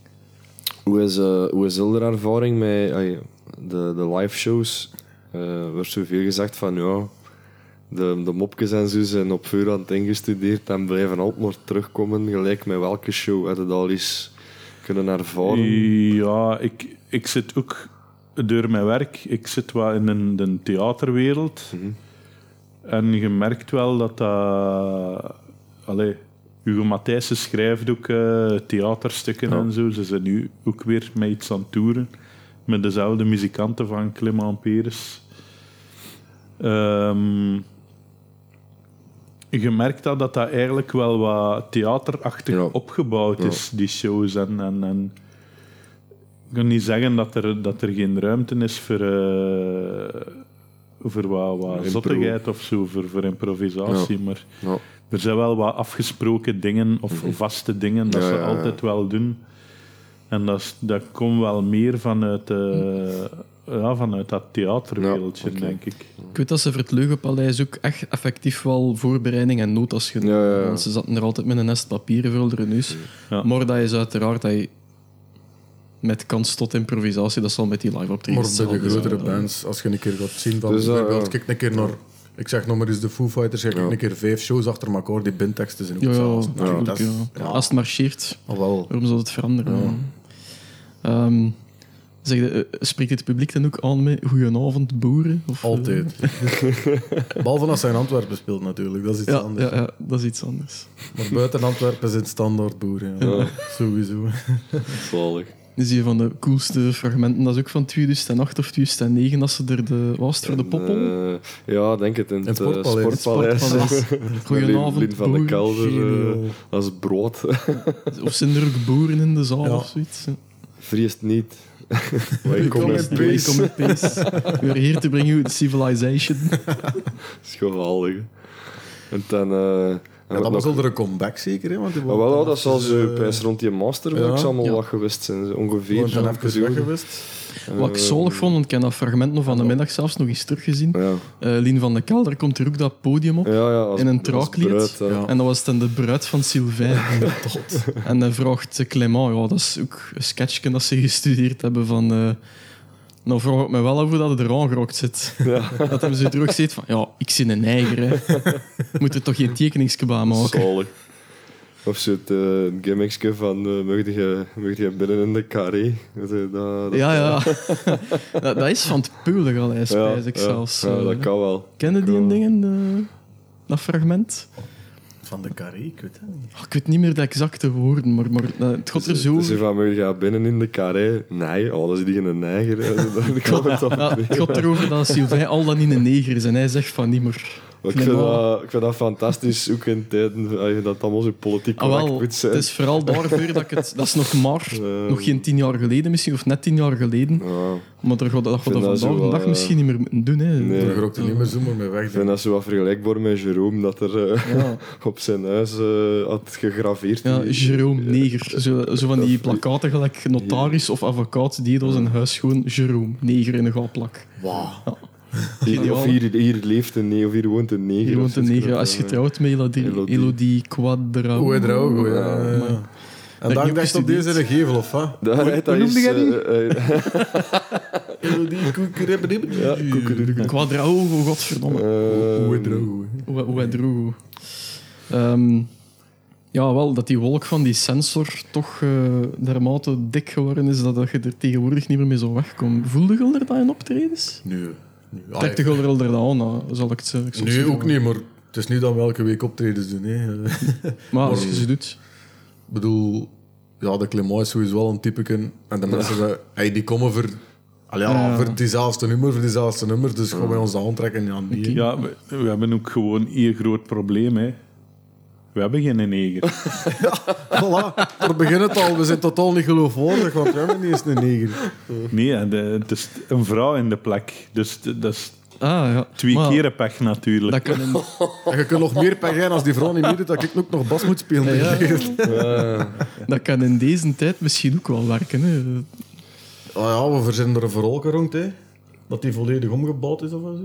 S2: Hoe is, eh hoe is heel de ervaring met ai, de, de live shows? Eh, Er werd zoveel gezegd van ja, de, de mopjes en zo zijn op voorhand ingestudeerd en blijven altijd maar terugkomen. Gelijk met welke show had het al eens kunnen ervaren?
S7: Ja, ik, ik zit ook door mijn werk, ik zit wel in een, de theaterwereld.
S2: Mhm.
S7: En je merkt wel dat dat... Allee, Hugo Matthijssen schrijft ook eh, theaterstukken en zo. Ze zijn nu ook weer met iets aan het toeren. Met dezelfde muzikanten van Clement Peres. Ehm, je merkt dat, dat dat eigenlijk wel wat theaterachtig
S2: Ja.
S7: opgebouwd
S2: Ja.
S7: is, die shows. En, en, en ik kan niet zeggen dat er, dat er geen ruimte is voor, eh, voor wat, wat
S2: Impro.
S7: zottigheid of zo, voor, voor improvisatie. Maar
S2: Ja. Mhm.
S7: er zijn wel wat afgesproken dingen of vaste dingen dat
S2: Ja,
S7: ze
S2: ja, ja.
S7: altijd wel doen. En dat, is- dat komt wel meer vanuit, eh, ja, vanuit dat theaterwereldje,
S2: Ja, oké.
S7: denk ik.
S1: Ik weet dat ze voor het Leugenpaleis ook echt effectief wel voorbereiding en notas genomen
S2: Ja, ja, ja.
S1: Want ze zaten er altijd met een nest papieren voor onder hun neus.
S7: Ja.
S1: Maar dat is uiteraard dat je met kans tot improvisatie, dat zal met die live
S4: Maar
S1: optredens
S4: bij de
S1: hetzelfde zijn.
S4: grotere bands, als je een keer gaat zien, dan
S2: Dus dat,
S4: bijvoorbeeld,
S2: ja.
S4: kijk een keer naar... Ik zeg nog maar eens de Foo Fighters, ik
S2: Ja.
S4: een keer vijf shows achter elkaar, die bindteksten zijn ook
S1: Ja, ja,
S4: hetzelfde. Kijk,
S1: tuurlijk,
S4: dat
S1: ja.
S4: is- ja.
S1: Als het marcheert,
S4: Ah, wel.
S1: waarom zou het veranderen?
S2: Mm.
S1: Ehm, zeg, de- eh, spreekt het publiek dan ook aan met goedenavond boeren? Of, eh,
S4: Altijd. Behalve als zij in Antwerpen speelt natuurlijk, dat is iets
S1: eh, ja,
S4: anders.
S1: ja, ja, dat is iets anders.
S4: Maar buiten Antwerpen zijn het standaard boeren. Ja. Sowieso.
S2: Zalig.
S1: Dat is een van de coolste fragmenten. Dat is ook van 2008 of 2009, als ze er de... Was het voor de poppel?
S2: Eh, ja, denk het. In het,
S4: het
S2: eh,
S4: sportpaleis.
S1: Het
S2: sportpaleis.
S1: sportpaleis. Goedenavond,
S2: Lien van de
S1: boeren.
S2: Kelder eh,
S4: Geniaal.
S2: als brood.
S1: Of zijn er ook boeren in de zaal
S4: Ja.
S1: of zoiets?
S2: Vriest niet. Maar ik kom
S1: Welcome
S2: met
S1: in peace.
S2: peace.
S1: Welcome in peace. We are here to bring you the civilization.
S2: Dat is geweldig. En dan... eh, en
S4: Ja,
S2: wat
S4: dan
S2: nog-
S4: was er een comeback zeker, hè? Want die
S2: Maar wel, ja, dat
S4: was
S2: zal zo
S4: eh,
S2: pijs rond die master
S4: ja.
S2: ja. allemaal
S1: Ja.
S2: wat geweest zijn. zo Ongeveer.
S4: gewoon
S2: zo
S4: dan even
S2: zo.
S4: weg geweest.
S1: Wat ik
S2: Eh,
S1: zalig vond, want ik heb dat fragment nog van de middag zelfs nog eens teruggezien.
S2: Ja,
S1: Eh Lien van de Kelder komt er ook dat podium op.
S2: ja, ja als,
S1: In een
S2: als
S1: traaklied?
S2: bruid, hè.
S4: Ja.
S1: En dat was dan de bruid van Sylvain. En dan vraagt eh, Clément, ja, dat is ook een sketchje dat ze gestudeerd hebben van... eh nou vraag ik me wel af hoe dat het er aangerokt zit. Dat hem zo terug zit van, ja, ik zie een eiger, hè. Moet er toch geen tekeningske bij maken?
S2: Zalig. Of zo het eh, gimmickje van eh mag, je, mag je binnen in de carré? Dat, dat, dat-
S1: Ja, ja. dat, dat is van het puulig al, hij
S2: ja,
S1: spijs ik
S2: ja.
S1: zelfs.
S2: Ja, dat
S1: eh.
S2: kan wel.
S1: Kennen die
S2: Cool.
S1: dingen, de- dat fragment?
S4: Van de carré, ik weet het niet.
S1: Ah, ik weet niet meer de exacte woorden, maar, maar eh, het gaat er zo...
S2: Dus je van, mag je binnen in de carré? Nee, oh, dat is die een neiger. hè. Dat kan het toch
S1: Ja, het gaat erover dat Sylvain al dan in een neger is en hij zegt van niet meer.
S2: Maar Ik
S1: Nee,
S2: vind,
S1: maar-
S2: dat, ik vind dat fantastisch, ook in tijden als je dat allemaal zo politiek
S1: Ah,
S2: correct
S1: wel,
S2: moet
S1: het
S2: zijn.
S1: is vooral daarvoor dat ik het... Dat is nog maar,
S2: Eh.
S1: nog geen tien jaar geleden misschien, of net tien jaar geleden.
S2: Ja,
S1: Maar daar gaat, dat gaat
S2: vind
S1: dat vandaag
S2: dat zo
S1: de
S2: wel,
S1: dag
S2: eh,
S1: misschien niet meer moeten doen. Hè.
S2: nee.
S4: Daar rookte niet meer zomaar mee weg.
S2: ik vind dat zo wat vergelijkbaar met Jerome, dat er eh,
S1: Ja.
S2: op zijn huis eh, had gegraveerd.
S1: Ja,
S2: Die-
S1: Jerome Neger. Zo, zo van die plakaten gelijk notaris of advocaat die door zijn huis gewoon Jerome Neger in de gal plak.
S2: die- of hier, hier leeft een neger, of hier woont een neger.
S1: Hier
S2: of
S1: woont een
S2: zoiets.
S1: neger. Als je trouwt met Elodie,
S2: Elodie.
S1: Elodie Quadra.
S4: Hoe hij er ook, hoe
S2: Ja,
S4: ja.
S1: amai.
S4: En dan
S1: niet
S4: dacht op
S1: gestudeerd.
S4: deze de gevel, of wat?
S2: Dat, dat is,
S1: noemde jij die?
S2: eh, eh,
S4: Elodie, koekerebberibberi.
S2: ja, koekeroekeroek.
S1: Quadra, oh, godverdomme.
S2: Eh,
S4: Hoe hij er ook, hè.
S1: Hoe, hoe hij droeg. Ehm, ja, wel, dat die wolk van die sensor toch eh, dermate dik geworden is dat dat je er tegenwoordig niet meer mee zo wegkomt. Voelde je er dat in optredens?
S4: Nu. nu.
S1: Trek je er al er dan aan, eh, zal ik het zo ik zal het
S4: Nu
S1: zo
S4: ook
S1: zeggen.
S4: niet, maar het is niet dat we elke week optredens doen. Hè.
S1: Maar als je ze doet...
S4: Ik bedoel, ja, de Clement is sowieso wel een typeke. En de mensen die, hey, die komen voor, allee, ja,
S1: Ja.
S4: voor diezelfde nummer, voor diezelfde nummer. Dus gaan wij ons de hand trekken. Ja, nee.
S7: Ja, we, we hebben ook gewoon één groot probleem. Hè. We hebben geen neger.
S8: Voilà, voor begin het al. We zijn totaal niet geloofwaardig, want we hebben niet eens een neger.
S7: Nee, de- het is een vrouw in de plek. Dus t- dat is
S1: Ah, ja.
S7: twee
S1: Maar
S7: keer een pech natuurlijk.
S1: Dat kan een-
S8: En je kunt nog meer pijn zijn als die vrouw niet meedoet, dat ik ook nog bas moet spelen.
S1: Dat kan in deze tijd misschien ook wel werken. Hè.
S8: Ah ja, we verzinnen er een verolker rond, hè. Dat die volledig omgebouwd is of zo.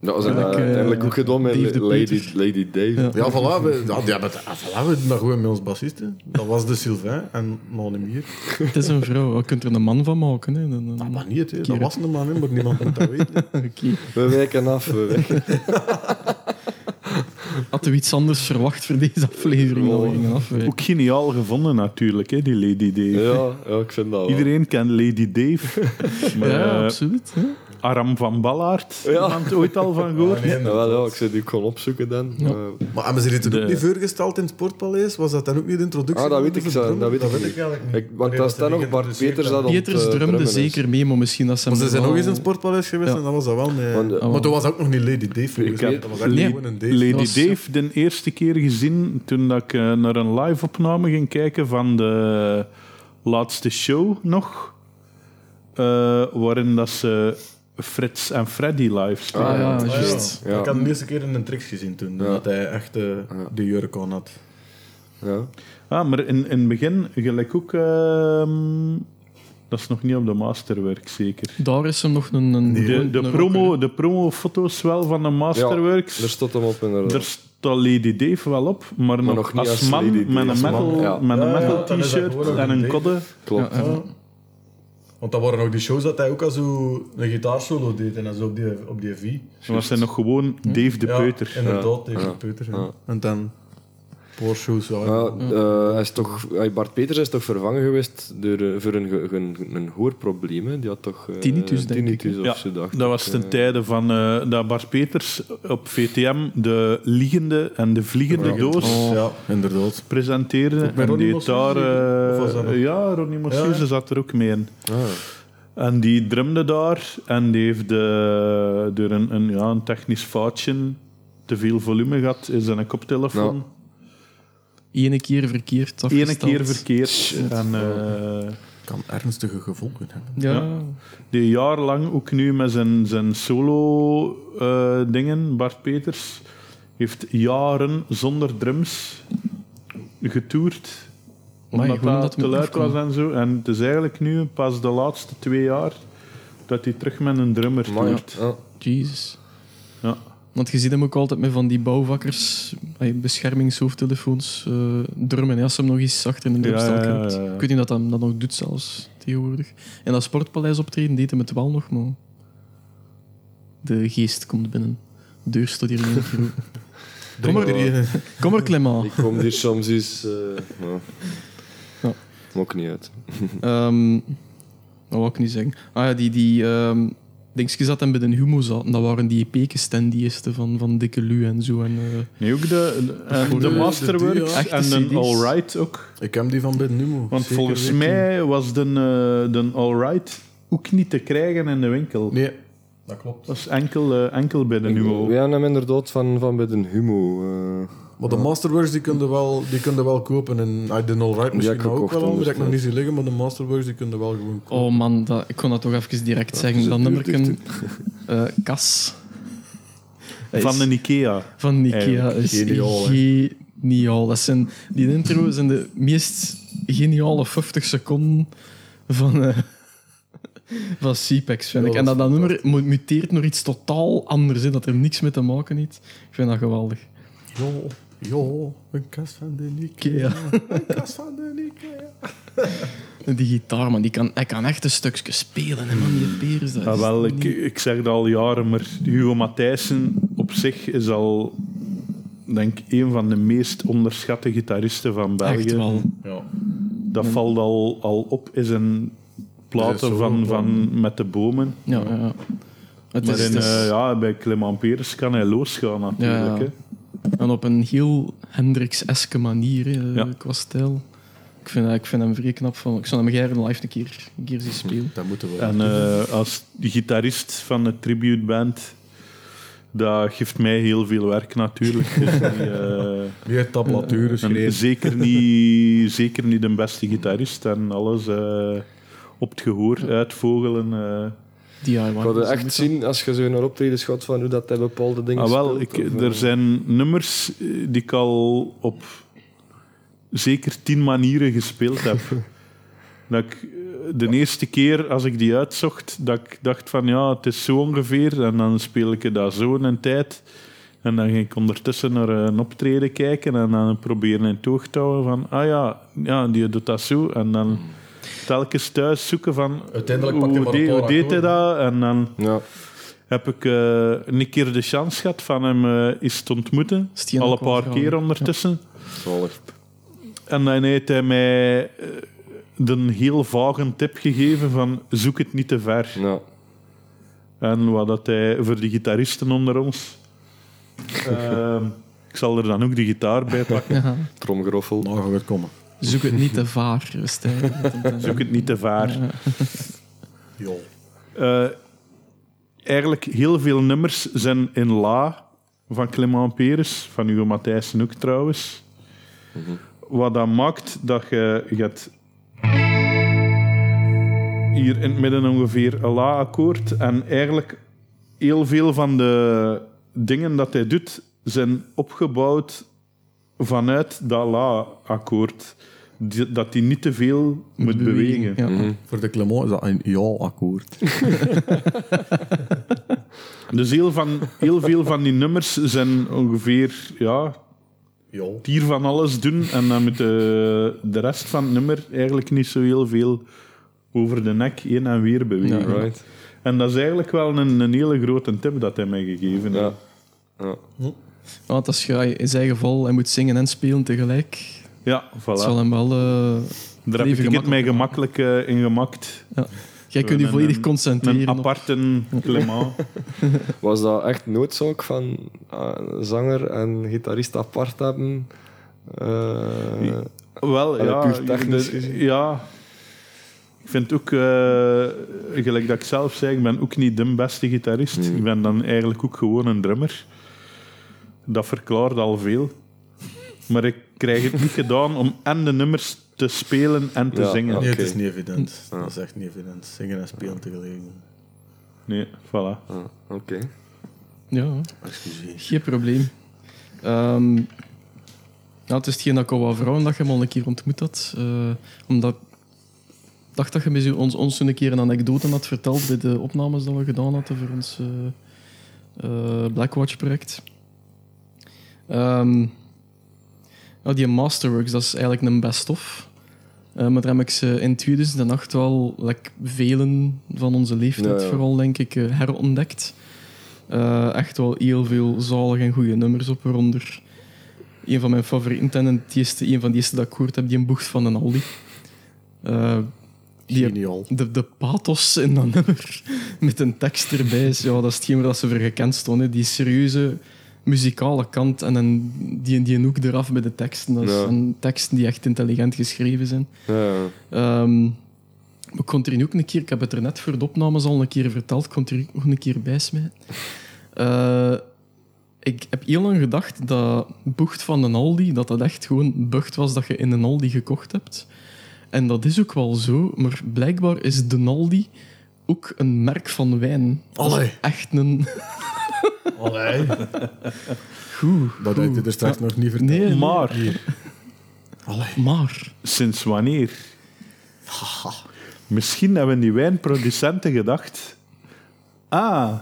S2: Nou, ze hebben
S1: Ja,
S2: dat
S1: ik, eh,
S2: uiteindelijk ook gedaan met
S1: Dave de
S2: Lady,
S1: Peter.
S2: Lady Dave.
S1: Ja.
S8: Ja, voilà, we, ja, die hebben het, ah, voilà, we doen dat gewoon met ons bassisten. Dat was de Sylvain en nog niet meer.
S1: Het is een vrouw. Je kunt er een man van maken. Hè. Dan-
S8: Dat
S4: Ah,
S1: dan-
S8: mag niet, hè. dat was een man, hè, maar niemand moet dat weten. hè.
S1: Oké.
S2: We wijken af, we wijken
S1: Had u iets anders verwacht voor deze aflevering? Dan we gingen afwijken.
S7: Ook geniaal gevonden natuurlijk, hè, die Lady Dave.
S2: Ja, ja, ik vind dat wel.
S7: Iedereen kent Lady Dave. maar,
S1: Ja,
S7: eh,
S1: absoluut. Hè.
S7: Aram van Ballaert, iemand ooit al van gehoord?
S2: Ja, wel, ja, ik zit die ook gewoon opzoeken dan. Eh,
S8: Maar hebben ze dit
S7: De-
S8: ook niet voorgesteld in het Sportpaleis? Was dat dan ook niet de introductie?
S2: ah, dat weet
S8: van
S2: ik,
S8: de
S2: zo,
S8: drum?
S2: dat weet ik, niet.
S8: eigenlijk niet.
S2: Ik- want
S8: Nee,
S2: daar
S8: dat
S2: staat
S8: heb
S2: nog
S8: ik
S2: Bart
S8: geïntroduceerd
S2: Peters dat op
S1: Pieters
S2: eh,
S1: drumde
S2: is.
S1: zeker mee, maar misschien dat ze...
S8: Maar ze
S1: hem
S8: zijn
S1: wel-
S8: nog eens in het Sportpaleis geweest
S1: Ja.
S8: en dat was dat wel. Nee.
S2: Want, eh,
S8: maar toen was dat ook nog niet Lady Dave. volgens
S7: Ik
S8: mij.
S7: heb
S8: dat was echt
S1: Nee.
S8: gewoon een Dave.
S7: Lady
S1: was-
S7: Dave de eerste keer gezien toen dat ik eh, naar een live-opname ging kijken van de laatste show nog. eh, waarin dat ze Frits en Freddy live spelen.
S1: Ah, ja,
S8: Ah, ja.
S1: juist.
S2: Ja.
S8: Ik had hem de eerste keer in een tricks gezien toen. Dat hij echt eh, de jurk aan had.
S2: Ja.
S7: Ah, maar in, in het begin, gelijk ook... ehm, dat is nog niet op de masterwerk, zeker.
S1: Daar is hem nog een... een
S7: De,
S1: een-
S7: de,
S1: een
S7: promo,
S1: rocker.
S7: de promofoto's wel van de
S2: Ja,
S7: masterworks.
S2: daar stond hem op inderdaad.
S7: Daar staat Lady Dave wel op, maar, nog,
S2: nog niet
S7: als,
S2: als
S7: man
S2: Lady Dave.
S7: met
S2: Als
S7: een
S2: man,
S7: metal,
S2: ja.
S7: met een
S8: Ja,
S7: metal
S8: ja, dan is
S7: t-shirt
S8: dat gewoon
S7: en
S8: Lady
S7: een
S8: Dave.
S7: kodde.
S2: Klopt.
S1: Ja,
S8: Ja. Want dat waren ook die shows dat hij ook al zo een gitaarsolo deed en dan zo op die, op die V.
S7: Dan was hij nog gewoon
S8: Hm?
S7: Dave de Peuter.
S8: Inderdaad, tegen de Peuter. ja. En dan Porsche shows. Ja.
S2: Ja, eh, hij is toch, hij- Bart Peters is toch vervangen geweest door, eh, voor een, ge- een, een hoorprobleem. hè. Die had toch eh,
S1: Tinnitus, denk ik,
S2: tinnitus of
S7: Ja,
S2: zo, dacht
S7: dat was ten tijde van eh dat Bart Peters op VTM de liegende en de vliegende doos
S2: Oh.
S8: Ja, inderdaad.
S7: presenteerde.
S8: met
S7: en
S8: Ronnie
S7: die
S8: Mossuze
S7: daar...
S8: zeker?
S7: eh,
S8: Of was dat nog-
S7: ja, Ronnie Mossuze
S8: Ja, ja.
S7: zat er ook mee in.
S2: Ah.
S7: En die drumde daar en die heeft de, door een, een, ja, een technisch foutje te veel volume gehad in zijn koptelefoon.
S2: Ja.
S1: eh, Ene keer verkeerd
S7: Ene
S1: afgesteld.
S7: keer verkeerd. En eh,
S8: Kan ernstige gevolgen hebben.
S1: Ja.
S7: Ja. die jarenlang, ook nu met zijn, zijn solo-dingen, Bart Peters, heeft jaren zonder drums getoerd.
S1: Amai,
S7: Omdat
S1: gewoon
S7: dat,
S1: dat
S7: te
S1: moet
S7: luid
S1: afkomen.
S7: was en zo. En het is eigenlijk nu pas de laatste twee jaar dat hij terug met een drummer
S2: Maar ja,
S7: toert.
S2: ja.
S1: Jezus.
S7: Ja.
S1: Want je ziet hem ook altijd met van die bouwvakkers, ay, beschermingshoofdtelefoons, eh drummen. hè, Als ze hem nog eens achter een drumstel
S7: Ja, ja, ja,
S1: klemmt.
S7: ja.
S1: Ik weet niet dat hij hem dat nog doet zelfs, tegenwoordig. En dat sportpaleis optreden deed hem het wel nog, maar... De geest komt binnen. De deur staat hier niet voor. Kom maar, kom maar, Clément.
S2: Ik kom hier soms eens... eh ja.
S1: Ja.
S2: Maakt niet uit.
S1: Ehm, wat wou ik nu zeggen? Ah ja, die, die ehm dingetjes dat hem bij de humo zaten, dat waren die pekenstandiesten van, van Dikke Lu en zo. En, eh,
S7: Nee, ook de, de, en
S1: Voor
S7: de
S1: de-
S7: Masterworks
S1: de- de-
S7: en een
S1: echte CD's.
S7: Alright ook.
S8: Ik heb die van Ben Numo.
S7: Want volgens mij was de, eh, de Alright ook niet te krijgen in de winkel.
S8: Nee, dat klopt.
S7: Dat is enkel, eh, enkel bij de Nuo.
S2: We hebben hem inderdaad van, van bij de humo. eh,
S8: Maar de Masterworks die kunnen wel, die kunnen wel kopen. En ah, de All Right misschien
S2: ik
S8: nou ook
S2: gekocht
S8: wel, al, maar dat
S2: ondertussen.
S8: ik nog niet zie liggen. Maar de Masterworks die kunnen wel gewoon kopen.
S1: oh man, dat, ik kon dat toch even direct zeggen.
S2: is
S1: Dat
S2: het
S1: nummer
S2: duur,
S1: Kas. Dat is
S7: Van de Ikea.
S1: van Ikea
S7: Eigenlijk
S1: is
S8: geniaal,
S1: geniaal. Dat zijn, die intro zijn de meest geniale 50 seconden van, eh van CPEX, vind
S8: Ja,
S1: ik. En
S8: dat
S1: dat,
S8: is
S1: dat nummer mu- muteert naar iets totaal anders, hè, dat er niks mee te maken heeft. Ik vind dat geweldig.
S8: Jo, jo, een kast van de Ikea.
S1: Ikea.
S8: Een kast van de Ikea.
S1: Die gitaar, man, die kan, hij kan echt een stukje spelen, hè, man. Die Peers, dat is
S7: Ah, wel, ik,
S1: niet-
S7: ik zeg dat al jaren, maar Hugo Matthijssen op zich is al, denk ik, een van de meest onderschatte gitaristen van België.
S1: Echt wel.
S8: Ja.
S7: Dat valt al, al op in zijn
S8: Dat
S7: platen
S8: is
S7: van,
S8: zo,
S7: van Met de Bomen.
S1: Ja, ja, ja. Het
S7: Maar
S1: is,
S7: in,
S1: het is-
S7: eh, ja, bij Clement Peres kan hij losgaan natuurlijk.
S1: Ja, ja.
S7: Hè.
S1: En op een heel Hendrix-eske manier, hè,
S7: Ja.
S1: qua stijl. Ik vind, ik vind hem vrij knap. Van. Ik zou hem gerne live een keer, een keer zien spelen.
S8: Dat moeten we.
S7: En eh, als gitarist van de tributeband Dat geeft mij heel veel werk natuurlijk. Dus die, eh,
S8: Meer tablatuur
S7: en
S8: geschreven.
S7: zeker, niet, zeker niet de beste gitarist en alles eh, op het gehoor uitvogelen. eh.
S1: DIY.
S2: Ik wilde echt zien, als je zo naar optredens gaat, van hoe dat hij bepaalde dingen
S7: Ah, wel,
S2: speelt,
S7: ik,
S2: of,
S7: er
S2: eh,
S7: zijn nummers eh, die ik al op zeker tien manieren gespeeld heb. dat ik eh, de eerste keer, als ik die uitzocht, dat ik dacht van ja, het is zo ongeveer. En dan speel ik dat zo in een tijd. En dan ging ik ondertussen naar een optreden kijken en dan proberen in het oog te houden van ah ja, ja die doet dat zo. En dan telkens thuis zoeken van
S8: Hmm. Uiteindelijk
S7: hoe,
S8: pakt hij maar een
S7: deed-
S8: paar
S7: hoe deed hij
S8: akkoorden.
S7: dat? En dan
S2: Ja,
S7: heb ik eh, een keer de chance gehad van hem eh eens te ontmoeten.
S1: Is die aan
S7: Al een
S1: elkaar
S7: paar
S1: gehouden?
S7: keer ondertussen.
S2: zalig.
S7: En dan heeft hij mij eh, een heel vage tip gegeven van zoek het niet te ver.
S2: Ja.
S7: En wat dat hij voor de gitaristen onder ons... ehm, ik zal er dan ook de gitaar bij pakken.
S2: Tromgeroffel.
S8: Nou, je weer komen.
S1: Zoek het niet te vaar, eh, Stijn.
S7: Zoek het niet te ver.
S4: Joh.
S7: Eh, eigenlijk heel veel nummers zijn in La van Clement Peres, van Hugo Matthijssen ook trouwens. Wat dat maakt dat je, je hebt hier in het midden ongeveer een La-akkoord en eigenlijk heel veel van de dingen dat hij doet zijn opgebouwd vanuit dat La-akkoord. Die- Dat hij niet te veel moet bewegen.
S1: Ja.
S8: Voor de Clement is dat een ja-akkoord.
S7: Dus heel, van, heel veel van die nummers zijn ongeveer, ja,
S4: Joh.
S7: hier van alles doen. En dan moet de, de rest van het nummer eigenlijk niet zo heel veel over de nek heen en weer bewegen.
S2: Right.
S7: En dat is eigenlijk wel een, een hele grote tip dat hij mij gegeven
S2: Ja.
S7: heeft.
S1: Want als je in zijn geval hij moet zingen en spelen tegelijk,
S7: Ja,
S1: dat zal
S7: voilà.
S1: hem wel... eh,
S7: Daar heb
S1: leven
S7: ik het mij
S1: gemakkelijk
S7: gemakkelijk eh, in gemakt.
S1: jij kunt je
S7: Een-
S1: volledig
S7: een-
S1: concentreren.
S7: Een
S1: op-
S7: aparte Clement.
S2: Was dat echt noodzaak van eh, zanger en gitarist apart hebben? Eh,
S7: Wel,
S2: Allee,
S7: ja.
S2: puur technisch
S7: de-
S2: gezien.
S7: ja. Ik vind ook, eh, gelijk dat ik zelf zei, ik ben ook niet de beste gitarist. Ik ben dan eigenlijk ook gewoon een drummer. Dat verklaart al veel. Maar ik krijg het niet gedaan om en de nummers te spelen en te
S2: Ja,
S7: zingen.
S2: ja.
S8: Nee,
S2: Oké.
S8: het is niet evident. Dat is echt niet evident. Zingen en spelen tegelijk.
S7: Nee, voilà.
S2: ah, Oké.
S1: Ja, geen probleem. Ehm, nou, het is hetgeen dat ik al wou vragen, dat je hem al een keer ontmoet had. Eh, omdat ik dacht dat je misschien ons, ons toen een keer een anekdote had verteld bij de opnames dat we gedaan hadden voor ons eh, eh, Blackwatch-project. Ehm, nou, die Masterworks, dat is eigenlijk een best-of. Eh, maar daar heb ik ze in 2008 wel, like, velen van onze leeftijd
S2: Ja, ja.
S1: vooral, denk ik, eh, herontdekt. Eh, echt wel heel veel zalige en goede nummers op, waaronder een van mijn favorieten en het eerste, een van de eerste dat ik gehoord heb, die een bocht van een Aldi. Eh, die
S4: Geniaal.
S1: de, de pathos in dat nummer met een tekst erbij is, ja, dat is hetgeen waar dat ze voor gekend stonden. Die serieuze muzikale kant en dan die, die hoek eraf bij de teksten. Dat
S2: Ja.
S1: zijn teksten die echt intelligent geschreven zijn.
S2: Ja,
S1: Ehm, maar ik kon er nu ook een keer, ik heb het er net voor de opnames al een keer verteld, ik kon het er ook nog een keer bij smijten. Eh, ik heb heel lang gedacht dat Bucht van een Aldi, dat dat echt gewoon Bucht was dat je in een Aldi gekocht hebt. En dat is ook wel zo, maar blijkbaar is de Aldi ook een merk van wijn.
S4: Allee.
S1: Echt een...
S4: Allee.
S1: Goed.
S8: Dat heb je er straks nog niet verteld.
S1: Nee, nee.
S7: Maar,
S1: maar...
S7: sinds wanneer? Misschien hebben die wijnproducenten gedacht... Ah,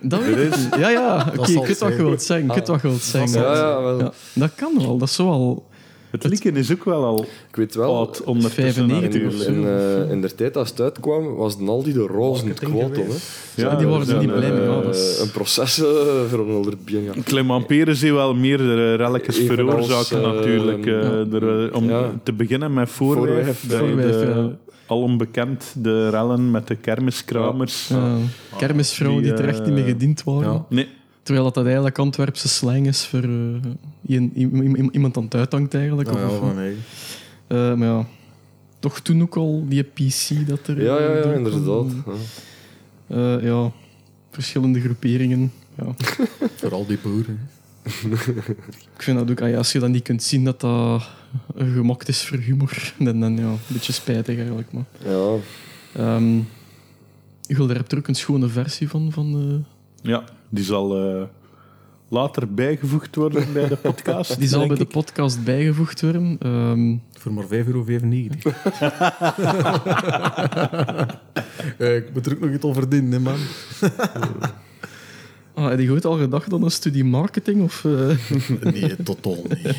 S1: Dat weet ik niet. Ja, ja. Oké,
S4: zal
S1: ik weet wat je
S4: zijn.
S1: wilt zeggen. Ik weet wat je wilt zeggen.
S2: Ah. ja, ja, wel.
S1: Ja, dat kan wel. Dat is zo al...
S7: het likken is ook wel al
S2: Ik weet
S1: Oh,
S2: wel,
S7: oud ondertussen.
S1: 95 of
S2: in,
S1: zo.
S2: in, eh, in de tijd als het uitkwam, was Naldi de
S1: Oh,
S2: roze in het kwaad om. hè.
S1: Ja, die
S7: er
S1: worden
S7: zijn,
S1: niet blij mee,
S7: eh,
S1: ja, dat is-
S2: Een proces eh, voor een ander bier, ja.
S7: Clem Ampere zie wel meer eh, relletjes
S2: Evenals,
S7: veroorzaken
S2: eh,
S7: natuurlijk. eh, er, eh, om
S2: ja.
S7: te beginnen met Voorwerf.
S2: Voorwerf,
S7: dat je
S1: Voorwerf,
S7: de-
S1: ja.
S7: Al onbekend, de rellen met de kermiskramers.
S1: Ja. Kermisvrouwen Eh, die,
S7: Die,
S1: er echt niet mee
S7: eh,
S1: gediend waren.
S8: ja.
S7: Nee,
S1: Terwijl dat, dat eigenlijk Antwerpse slang is voor eh, ien- i- i- i- iemand aan het uithangt eigenlijk.
S8: Nou,
S1: of,
S8: ja,
S1: of-
S8: van eigen.
S1: eh, maar ja, toch toen ook al die PC dat er...
S2: Ja, ja,
S1: eh,
S2: ja,
S1: doorkwam.
S2: inderdaad. Ja.
S1: Eh, ja, verschillende groeperingen. Ja.
S4: Vooral die boeren.
S1: Ik vind dat ook, ah ja, als je dat niet kunt zien, dat dat gemokt is voor humor. Dan, dan ja, een beetje spijtig eigenlijk. Maar.
S2: Ja,
S1: Ehm Gul, daar heb je ook een schone versie van. van eh,
S7: Ja, die zal eh, later bijgevoegd worden bij de podcast.
S1: die zal
S7: denk
S1: bij de
S7: ik.
S1: podcast bijgevoegd worden. Ehm,
S8: Voor maar 5,95 euro. Eh, ik moet er ook nog iets over verdienen, hè, man.
S1: ah, heb je ooit al gedacht aan een studie marketing? Of, eh,
S4: Nee, totaal niet.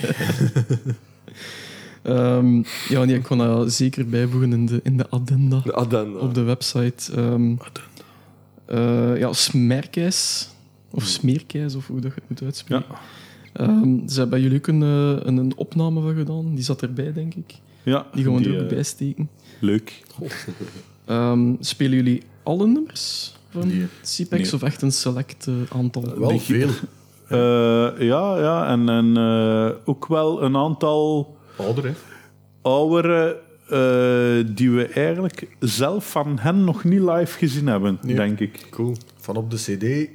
S1: ehm, ja, nee, ik kan dat zeker bijvoegen in de, in de addenda.
S2: de addenda.
S1: op de website. ehm eh, ja, smerkijs. Of smeerkijs, of hoe dat je het moet uitspreken.
S7: Ja.
S1: Ehm, ze hebben jullie ook een, eh, een, een opname van gedaan. Die zat erbij, denk ik.
S7: Ja,
S1: Die gaan we er
S7: eh,
S1: ook bij steken.
S7: Leuk.
S1: Ehm, spelen jullie alle nummers van
S8: Nee.
S1: CPEX
S7: Nee.
S1: of echt een select eh, aantal?
S4: Wel veel.
S7: Eh, ja, ja, en, en eh, ook wel een aantal
S4: Ouder, hè?
S7: oudere eh, die we eigenlijk zelf van hen nog niet live gezien hebben, denk ik.
S2: Cool.
S8: Van op de CD,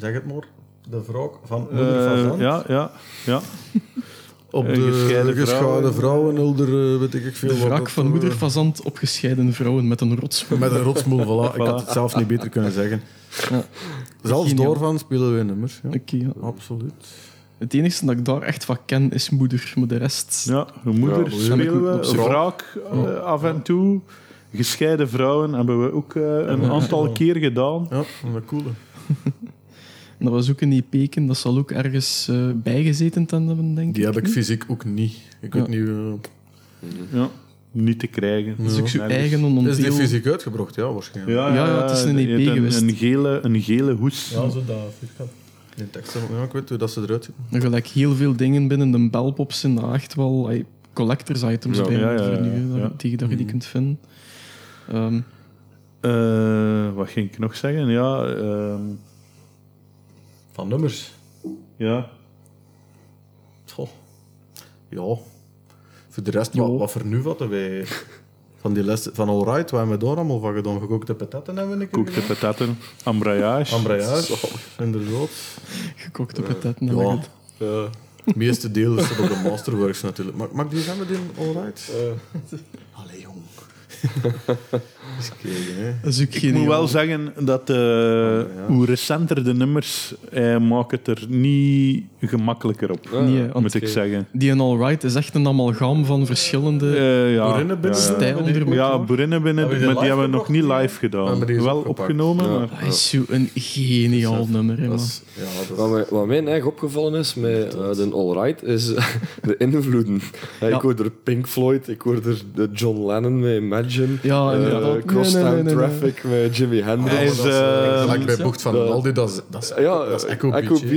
S8: zeg het maar, de wraak van Moeder van
S7: Eh,
S8: Zand.
S7: ja, ja, ja.
S8: Op
S7: Eh,
S8: de
S7: gescheiden
S8: gescheiden, vrouwen, Ulder, eh, weet ik veel.
S1: De
S8: wat
S1: wrak
S8: dat,
S1: van
S8: eh,
S1: moeder Fazant op gescheiden vrouwen met een rotsmoed.
S8: Met een rotsmoel, voilà. Ik had het zelf niet beter kunnen zeggen.
S1: Ja.
S8: Zelfs
S1: Geniaal.
S8: doorvan spelen we nummers. Ja.
S1: Oké, ja.
S8: Absoluut.
S1: Het enige dat ik daar echt van ken is moeder, maar de rest.
S7: Ja, hun moeder
S2: Ja,
S7: spelen we,
S1: op zich wel.
S7: wraak eh, af en toe. Gescheiden vrouwen hebben we ook eh, een aantal keer gedaan.
S8: Ja, dat coole.
S1: En Dat was ook in die peken, dat zal ook ergens eh, bijgezeten ten hebben, denk
S8: Die
S1: ik. Hm?
S8: heb ik
S1: nu.
S8: fysiek ook niet. Ik
S1: Ja.
S8: weet niet... eh,
S7: Ja, niet te krijgen.
S1: Dat is ook zijn
S7: Nergens.
S1: Dus eigen
S8: is die
S1: onderdeel.
S8: fysiek uitgebracht? Ja, waarschijnlijk.
S7: Ja,
S1: Ja, ja, het is een
S7: die
S1: EP
S7: heeft
S1: geweest.
S7: Een gele, een gele hoes.
S8: Ja, zo dat vierkant. In tekst. Ja, ik weet hoe dat ze eruit zien.
S1: En gelijk heel veel dingen binnen de belpop zijn daar echt wel ay, collectors items
S7: Ja,
S1: bij
S7: ja, ja,
S1: voor nu,
S7: ja, Hm.
S1: hè,
S7: ja.
S1: die dat je die kunt vinden. Ehm,
S7: Eh, wat ging ik nog zeggen? Ja, ehm,
S8: Van nummers.
S7: ja.
S8: Goh. Ja. Voor de rest, wat, wat voor nu hadden wij... Van die les van Alright, wat hebben we daar allemaal van gedaan? Gekookte patatten hebben we een keer
S7: koekte
S8: gedaan.
S7: patatten, ambrayage.
S8: Ambrayage, inderdaad.
S1: gekookte
S7: Eh,
S1: patatten. heb ik
S8: Ja.
S1: het.
S2: Ja.
S8: Het meeste deel is dat op de Masterworks natuurlijk. Maar maak die zijn met in Alright? Allee, jong. Eens kijken, hè.
S1: Dat is ook
S7: Ik moet
S1: geniaal.
S7: wel zeggen dat eh, hoe recenter de nummers, eh maken het er niet gemakkelijker op,
S1: Nee, hè, want
S7: moet ik zeggen.
S1: die in Alright is echt een amalgaam van verschillende
S7: Eh, ja.
S8: Boerinnen binnen.
S7: Ja,
S1: stijlen.
S7: ja.
S1: er
S7: Ja,
S1: ook.
S7: boerinnen binnen,
S8: Hebben we die
S7: maar die
S8: live
S7: hebben we nog niet
S8: gebracht?
S7: live gedaan.
S8: maar die is
S7: Wel
S8: opgepakt.
S7: opgenomen,
S2: Ja.
S7: maar
S1: dat Ah, is zo'n geniaal nummer. hè, man.
S8: Dat is- ja, dat is-
S2: Wat mij, wat mij erg opgevallen is met eh, de All Right, is eh, de invloeden. Eh,
S1: Ja.
S2: Ik hoor er Pink Floyd, ik hoor er de John Lennon met Imagine,
S1: Ja,
S2: eh,
S1: inderdaad.
S2: Crosstown
S1: Nee, nee, nee, nee, nee.
S2: Traffic met Jimi Hendrix.
S7: Hij is,
S1: ehm,
S7: eh,
S8: Gelijk bij Bocht van den Waldi, dat is, dat is,
S2: ja,
S8: dat is
S2: eh,
S8: Echo, hè. Dat
S2: en
S8: is
S2: zo,
S8: gewoon Echo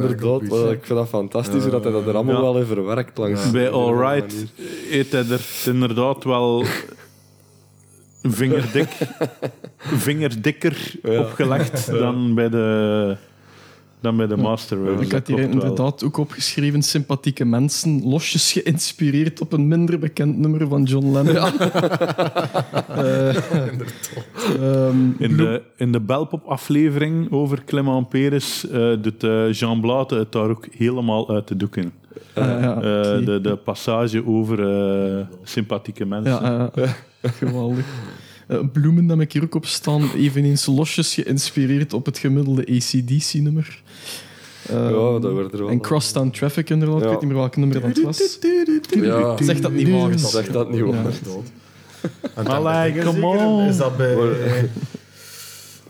S2: inderdaad.
S8: Beach,
S2: Eh,
S8: hè.
S2: ik vind dat fantastisch hoe dat hij dat er allemaal
S7: Ja.
S2: wel in verwerkt langs.
S7: bij Alright
S2: manier.
S7: eet hij er inderdaad wel vingerdik, vingerdikker opgelegd dan bij de, dan bij de Masterworks.
S1: Ik had hier
S7: klopt wel.
S1: inderdaad ook opgeschreven sympathieke mensen, losjes geïnspireerd op een minder bekend nummer van John Lennon. Eh, ehm,
S7: In de, in de Belpop-aflevering over Clement Peres eh, doet eh, Jean Blate het daar ook helemaal uit de doek in.
S1: ah, ja,
S7: Eh,
S1: oké.
S7: de, de passage over eh, sympathieke mensen.
S1: Ja, ja, ja. geweldig. Eh, bloemen dat ik hier ook op staan, eveneens losjes geïnspireerd op het gemiddelde ACDC-nummer.
S2: Ja, dat werd er wel.
S1: Ehm, en Crosstown Traffic inderdaad, ik weet
S2: Ja.
S1: niet meer welk nummer dat was.
S2: Ja.
S1: Zeg dat niet waar is.
S2: Zeg dat niet,
S1: Ja.
S2: hoor.
S8: Inderdaad. En dan
S7: Allee,
S8: denk ik,
S7: come
S8: zeker,
S7: on.
S8: Is dat bij...
S2: Maar-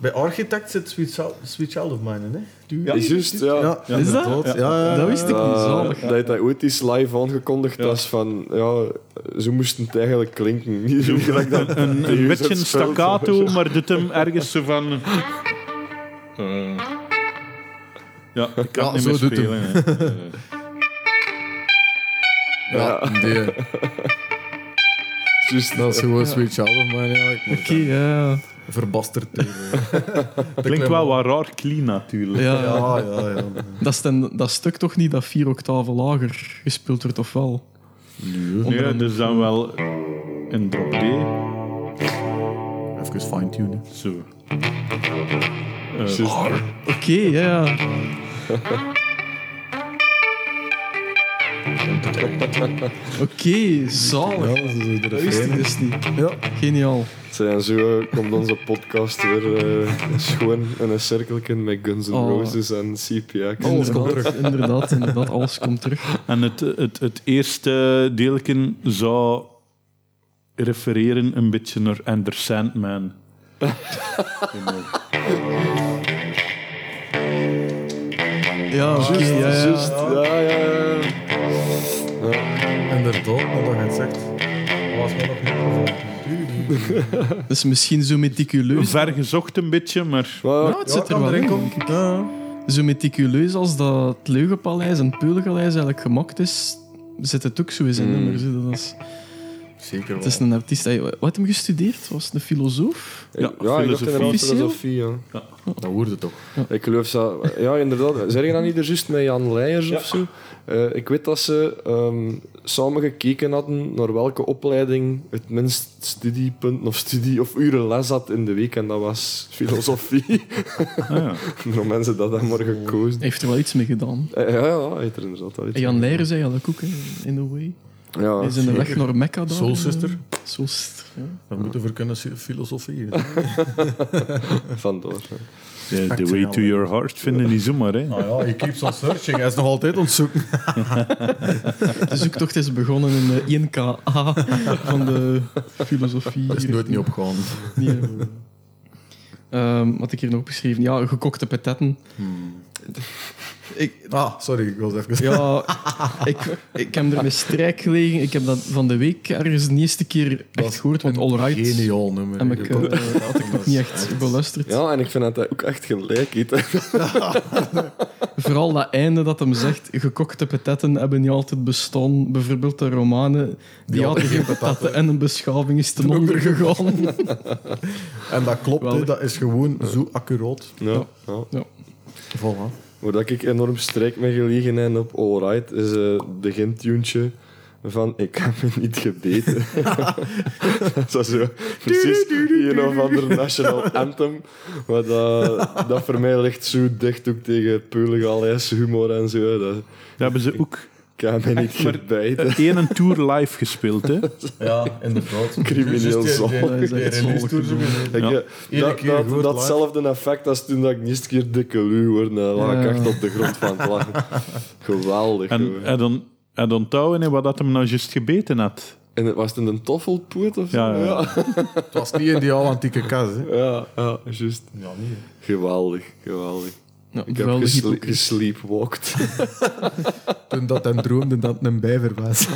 S8: Bij Architect zit Sweet Child, Sweet Child of Mine, hè? Du-
S2: Is juist, ja.
S8: ja,
S1: Is dat?
S8: inderdaad. Ja, ja,
S1: Dat wist ik niet,
S2: Eh,
S1: zalig.
S2: dat hij ooit eens live aangekondigd was van, ja, zo moest het eigenlijk klinken. Niet zo gelijk dat
S7: Een, een, een
S2: die
S7: beetje
S2: het speelt.
S7: staccato, maar doet hem ergens zo van... eh, ja, ik kan
S8: Ja,
S7: niet
S8: zo
S7: meer
S8: doet hem.
S7: spelen. hè.
S8: ja. die-
S2: Juist,
S8: Dat is gewoon Sweet Child of Mine, ja. Ik
S1: Oké, ja.
S8: Verbasterd. eh.
S7: Klinkt wel wat raar clean natuurlijk.
S1: ja, ja.
S8: Ja, ja, ja.
S1: Dat, is ten- dat stuk toch niet dat vier octaven lager gespeeld wordt, of wel?
S7: Nee, dus dan wel een drop D.
S8: Even fine-tunen.
S7: Zo. Eh,
S1: Oké, ja, ja. Oké, zalig.
S4: dat is de
S1: Dat wist ik dus niet.
S4: Ja.
S1: Geniaal.
S2: Zijn zo eh, komt onze podcast weer eh schoon in een cirkeltje met Guns N'
S1: Oh.
S2: Roses en CPX.
S1: Alles komt terug. Inderdaad, inderdaad, alles komt terug.
S7: En het, het, het eerste deelken zou refereren een beetje naar Ender Sandman.
S1: Ja, oké, ja, ja.
S2: Juist, ja, ja, ja.
S8: Inderdaad, wat je het zegt. Was mij nog niet gevolgd.
S1: Dat is misschien zo meticuleus.
S7: Ver gezocht een beetje, maar
S1: Ja,
S2: Maar
S1: Nou, het zit er wel in. Zo meticuleus als dat het Leugenpaleis en het Peulenpaleis eigenlijk gemaakt is, zit het ook zo eens in nummers. hè. Dat is,
S8: Zeker
S1: het
S8: wel.
S1: is een artiest. hij- Wat heeft hem gestudeerd? Was het een filosoof?
S2: ja, ik dacht
S7: filosofie.
S2: inderdaad filosofie. Ja.
S8: Dat hoorde toch.
S2: Ik geloof dat... Ja, inderdaad. Zeg je dat niet er juist met Jan Leijers of zo? Eh, ik weet dat ze ehm, samen gekeken hadden naar welke opleiding het minst studiepunt of studie of uren les had in de week. En dat was filosofie.
S7: ah ja.
S2: Waarom mensen dat dan maar gekozen.
S1: Hij heeft er wel iets mee gedaan.
S2: Eh, ja, ja, hij heeft er inderdaad al iets
S1: En Jan Leijers zei eigenlijk ook, hè, in the way.
S2: Ja,
S8: Ah,
S1: Hij is in de weg naar Mekka daar.
S8: Soul Sister.
S1: Soul Sister, ja.
S8: We moeten voor kunnen filosofie.
S2: vandoor. ja.
S7: The, the Way to Your Heart vinden die zomaar. Hè.
S8: Nou ja, je keeps on searching. Hij is nog altijd ontzoeken.
S1: De zoektocht is begonnen in de INKA van de filosofie.
S8: Dat is
S1: hier.
S8: nooit niet opgegaan.
S1: Nee, eh. Ehm, wat ik hier nog opgeschreven. Ja, gekokte petetten. Ik,
S8: Ah, sorry, ik was even...
S1: ja, ik, ik heb er met strijk gelegen. Ik heb dat van de week ergens de eerste keer echt gehoord, want All Right
S8: Geniaal nummer.
S1: heb ik, eh,
S8: had ik
S1: niet echt beluisterd.
S2: Ja, en ik vind dat hij ook echt gelijk heeft. hè.
S1: Vooral dat einde dat hem zegt, gekokte petetten hebben niet altijd bestaan. Bijvoorbeeld de Romanen, die hadden geen patatten en een beschaving is ten onder gegaan.
S8: En dat klopt,
S1: Wel-
S8: hè, dat is gewoon zo accuraat.
S2: Ja, ja.
S8: Voilà.
S2: Waar dat ik enorm strijk mee gelegen heb op Alright, is eh, de gintuntje van Ik heb me niet gebeten. dat is zo precies een of ander national anthem. Maar dat, dat voor mij ligt zo dicht ook tegen peulig humor en zo. Dat,
S7: Dat hebben ze ook
S2: ik heb me niet
S7: Echt, maar-
S2: gebeten.
S7: één een tour live gespeeld. Hè.
S8: Ja, inderdaad.
S2: Crimineel
S8: Dus die-
S2: zal.
S8: die-
S1: Dat is
S8: die
S1: echt
S8: release
S1: zalig
S8: tour
S1: gedaan.
S8: zo-
S2: Ik, eh,
S8: Iedere
S2: dat,
S8: keer
S2: dat-
S8: goed
S2: datzelfde effect als toen dat ik niet keer dikke luw hoorde. Dan lag ik
S1: Ja.
S2: echt op de grond van het lachen. Geweldig.
S7: En
S2: jongen.
S7: hij dan, hij dan touwen hè, wat dat hem nou juist gebeten had.
S2: En het was het een toffelpoot of zo?
S7: Ja, ja.
S8: Het was niet in die oude antieke kast. Hè.
S2: Ja, ja, juist.
S8: Ja, niet.
S2: Geweldig, geweldig.
S1: Ja,
S2: Ik heb
S1: vooral de
S2: gesle-
S1: hypocriet.
S2: gesleepwalked.
S8: Toen dat hij droomde dat het een bijver was.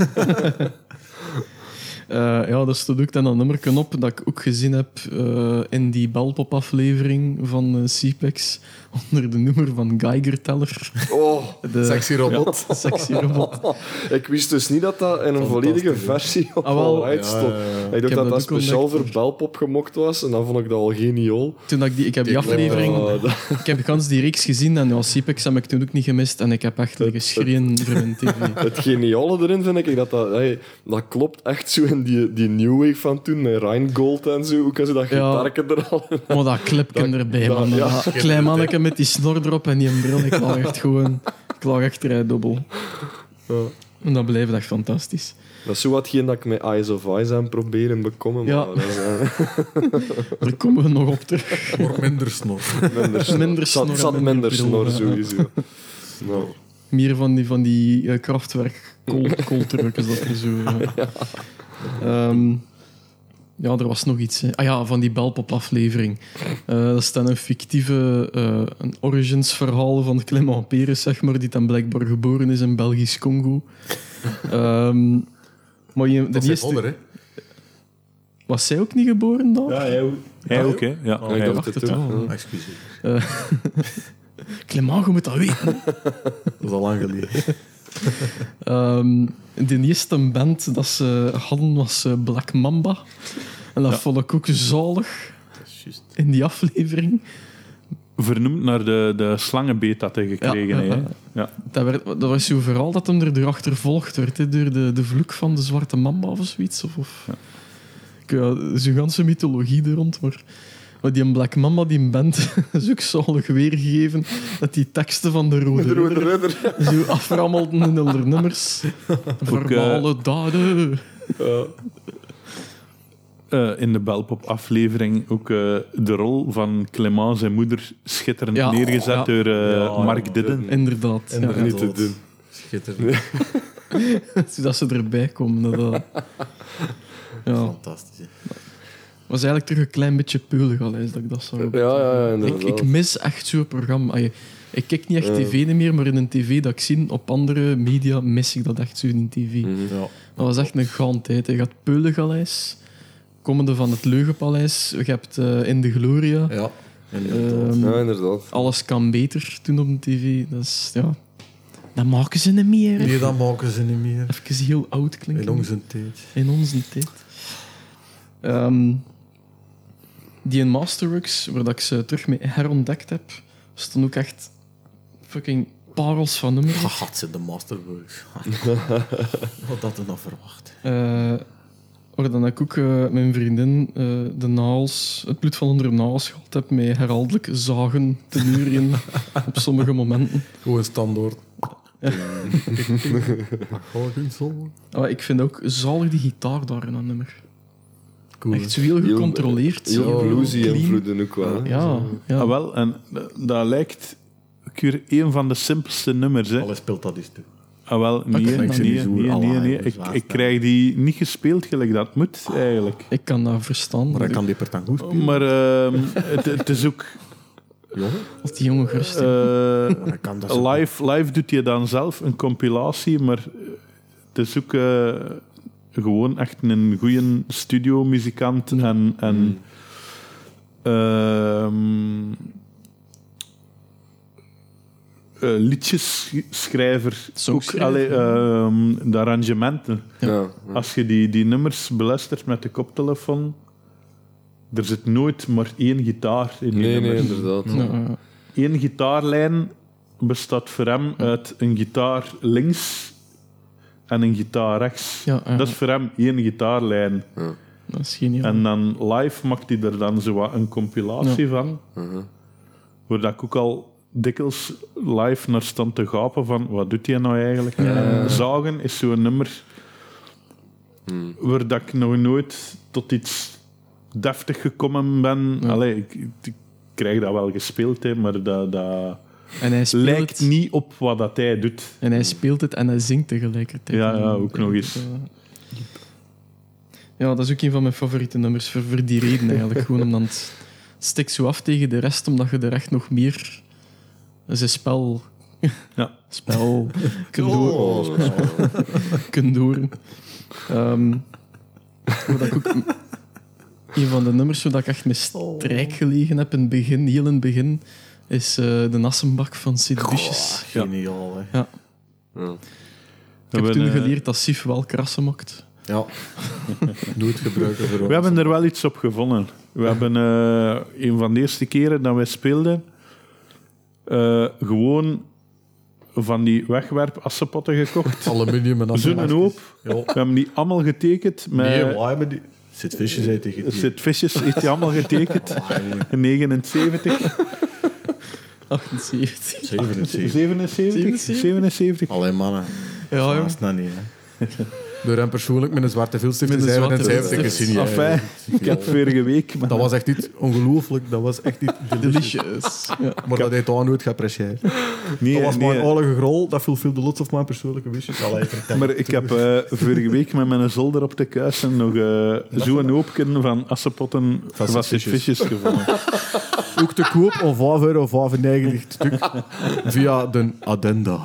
S1: Eh, ja, dat stond ook dan dat nummerken op dat ik ook gezien heb eh, in die belpop-aflevering van eh CPEX onder de noemer van Geiger-teller.
S2: Oh,
S1: De
S8: Sexy robot.
S1: sexy robot.
S2: ik wist dus niet dat dat in een volledige versie op
S1: Ah, wel.
S2: All Right stond. Ik dacht
S1: heb
S2: dat
S1: dat
S2: dat
S1: ook
S2: speciaal
S1: ontdekt.
S2: voor Belpop gemokt was en dan vond ik dat al geniaal.
S1: Toen dat ik, die, ik heb die aflevering,
S2: Oh, dat-
S1: ik heb gans die reeks gezien en ja, CPEX heb ik toen ook niet gemist en ik heb echt geschreven voor mijn tv.
S2: Het geniale erin vind ik dat dat, hey, dat klopt echt zo in die, die new wave van toen met Rheingold en zo. Hoe kan ze dat gitaarke er al in?
S1: Maar Oh, dat clipje erbij, man.
S2: dat- ja.
S1: Dat klein manneke met die snor erop en die bril. Ik lag echt gewoon... Ik lag echt rijdubbel. En dat bleef echt fantastisch.
S2: Dat is zo watgeen dat ik met Eyes of Eyes aan proberen bekomen.
S1: Ja.
S2: Maar dat is, eh,
S1: Daar komen we nog op terug.
S8: Voor minder snor.
S2: minder snor.
S1: Minder
S2: Zat-
S1: snor en
S2: Zat
S1: minder
S2: minder
S1: bril,
S2: snor,
S1: ja.
S2: sowieso. Nou.
S1: Meer van die, van die eh, krachtwerk kooltruck is dat er zo. Ja. Ehm, ja, er was nog iets. Hè. Ah ja, van die Belpop-aflevering. Eh, dat is dan een fictieve eh, een origins-verhaal van Clement Peres, zeg maar, die dan blijkbaar geboren is in Belgisch Congo. Ehm, maar je, de
S8: Dat is
S1: eerste,
S8: onder, hè.
S1: was zij ook niet geboren dan?
S7: Hij ook, hè? Ja,
S2: ik
S7: hij
S2: dacht
S7: ook.
S2: het
S1: het
S2: ook,
S1: wel.
S2: ja.
S8: Ah, Excuseer.
S1: Clement, je moet dat weten.
S8: Dat is al lang geleden.
S1: Ehm, de eerste band dat ze hadden was eh, Black Mamba. En dat vond ik ook zalig in die aflevering.
S7: Vernoemd naar de, de slangenbeet dat hij gekregen
S1: Ja,
S7: heeft.
S1: ja,
S7: hè.
S1: ja.
S7: Ja.
S1: Dat, werd, dat was zo vooral dat hem er door achtervolgd werd, hè, door de, de vloek van de zwarte mamba of zoiets. Of, of. Ik, ja, zo'n ganse mythologie er rond, maar... Maar die Black Mamba, die band, is ook zalig weergegeven dat die teksten van de Rode Ridder zo aframmelden in hun nummers. Verbale daden.
S7: Eh, in de Belpop-aflevering ook eh, de rol van Clément, zijn moeder, schitterend
S1: Ja.
S7: neergezet
S1: Ja.
S7: door eh,
S8: Ja,
S7: Mark
S8: ja.
S7: Didden.
S1: Inderdaad. ja.
S8: Inderdaad.
S2: Niet te doen.
S8: Schitterend.
S1: Zodat ze erbij komen. Dat, dat- Ja.
S8: Fantastisch. hè.
S1: was eigenlijk terug een klein beetje peulig al eens dat ik dat zou
S2: Ja, ja, ja,
S1: Ik,
S2: inderdaad.
S1: ik mis echt zo'n programma. Allee, Ik kijk niet echt tv niet meer, maar in een tv dat ik zie op andere media mis ik dat echt zo in tv.
S2: Mhm.
S8: Ja.
S1: Dat was echt een gantheid. Je had Peulengaleis, komende van het Leugenpaleis, je hebt eh, In de Gloria,
S8: Ja. eh,
S1: ehm,
S2: Ja, inderdaad.
S1: Alles kan beter toen op de tv. Dat is, ja... Dat maken ze niet meer. hè.
S8: Nee, dat maken ze niet meer.
S1: Even heel oud klinken.
S8: In onze tijd.
S1: In onze tijd. Ehm, die in Masterworks, waar dat ik ze terug mee herontdekt heb, stonden ook echt fucking parels van nummers.
S8: Had ze de Masterworks. Wat dat er nog verwacht.
S1: Eh, waar dan ik ook eh, mijn vriendin eh, de naals, het bloed van onder de naals gehad heb, mee herhaaldelijk zagen te duren op sommige momenten.
S8: Gewoon standaard. Gewoon geen zon.
S1: Ah, ik vind ook zalig die gitaar daar in dat nummer.
S8: Cool.
S1: Echt zo heel
S2: Heel-
S1: gecontroleerd. zo
S2: Heel bluesy
S1: clean.
S2: invloeden ook wel. hè.
S1: Ja, ja.
S7: Ah, wel, en eh, dat lijkt Cure een van de simpelste nummers. Hè.
S8: Alles speelt dat eens toe.
S7: Ah, wel, nee,
S1: ik
S7: nee,
S1: vind
S7: nee,
S1: ze
S8: niet
S7: nee,
S8: zo
S7: nee,
S8: alive,
S7: nee.
S8: dus
S7: Ik,
S8: waar
S7: ik
S8: staan.
S7: krijg die niet gespeeld gelijk dat moet, eigenlijk.
S1: Ik kan dat verstaan.
S8: Maar
S1: Maar
S8: hij kan die per tango spelen.
S7: Maar ehm, het, het is ook...
S1: Als die jongen gerust.
S7: eh,
S8: Hij kan dat zo-
S7: live, live doet hij dan zelf een compilatie, maar eh, het is ook eh, gewoon echt een goede studiomuzikant. En, en
S2: Hmm.
S7: ehm, eh, liedjesschrijver. Ook,
S1: Songschrijver.
S7: allee, ehm, de arrangementen.
S2: Ja.
S7: Als je die, die nummers beluistert met de koptelefoon, er zit nooit maar één gitaar in die
S2: Nee, nee,
S7: nummers.
S2: inderdaad.
S1: Ja,
S7: Eén gitaarlijn bestaat voor hem uit een gitaar links en een gitaar rechts.
S1: Ja, ja.
S7: Dat is voor hem één gitaarlijn.
S1: dat is geniaal.
S7: En dan live maakt hij er dan zo wat een compilatie van. Waar dat ik ook al dikwijls live naar stond te gapen van wat doet hij nou eigenlijk? En Zagen is zo'n nummer waar dat ik nog nooit tot iets deftig gekomen ben. Allee, ik, ik krijg dat wel gespeeld, hè, maar dat, dat
S1: En hij speelt
S7: lijkt
S1: het.
S7: niet op wat dat hij doet.
S1: En hij speelt het en hij zingt tegelijkertijd. Dus, eh,
S7: Ja, ja, ook nog eens.
S1: Ja, dat is ook een van mijn favoriete nummers. Voor, voor die reden eigenlijk. Gewoon omdat het stikt zo af tegen de rest, omdat je er echt nog meer zijn spel.
S7: Ja.
S1: Spel. Kunt horen.
S2: Oh, dat is-
S1: kunt horen. Ehm, wat ik ook, een van de nummers waar ik echt met
S8: Oh.
S1: strijk gelegen heb in het begin, heel in het begin, is eh, de Nassenbak van Sid Vicious.
S8: Geniaal, hè.
S1: Ik heb
S7: We
S1: toen
S7: hebben, eh,
S1: geleerd dat Sif wel krassen maakt.
S8: Ja. Doe het gebruiken voor
S7: We
S8: ons.
S7: hebben er wel iets op gevonden. We hebben eh, een van de eerste keren dat wij speelden, eh, gewoon van die wegwerpassenpotten
S8: Oh,
S7: gekocht.
S8: Aluminium en
S7: Zo'n
S8: asbest.
S7: hoop.
S8: Ja.
S7: We hebben die allemaal getekend. Met,
S8: Nee, waar hebben ah, die... Zit visjes uit tegen
S7: Er
S8: die.
S7: zit visjes, heeft die allemaal getekend. In 79,
S1: 78.
S8: 77.
S7: 77, 77.
S8: Allee, mannen.
S1: Ja,
S8: Dat
S1: jong.
S8: is dat niet, hè.
S4: Door hem persoonlijk met een zwarte filstift
S1: Met
S4: te
S1: een
S4: zijn
S1: zwarte
S4: en zijn te
S1: filstift.
S4: zien.
S7: Enfin, ik had vorige week... Maar
S4: Dat was echt niet ongelooflijk. Dat was echt niet delicious.
S1: Delicious. Ja.
S4: Maar dat heeft Daan nooit geapprecieerd.
S7: nee,
S8: Dat was
S7: nee.
S8: mijn oorlogige rol. Dat viel veel de lot of mijn persoonlijke wishes. Allee, vertel.
S7: Maar ik heb eh, vorige week met mijn zolder op de kuisen nog eh, zo'n hoopje van assenpotten
S8: Van
S7: van
S8: Sint
S7: visjes gevonden.
S4: Ook te koop om 5 euro 95 stuk via de addenda.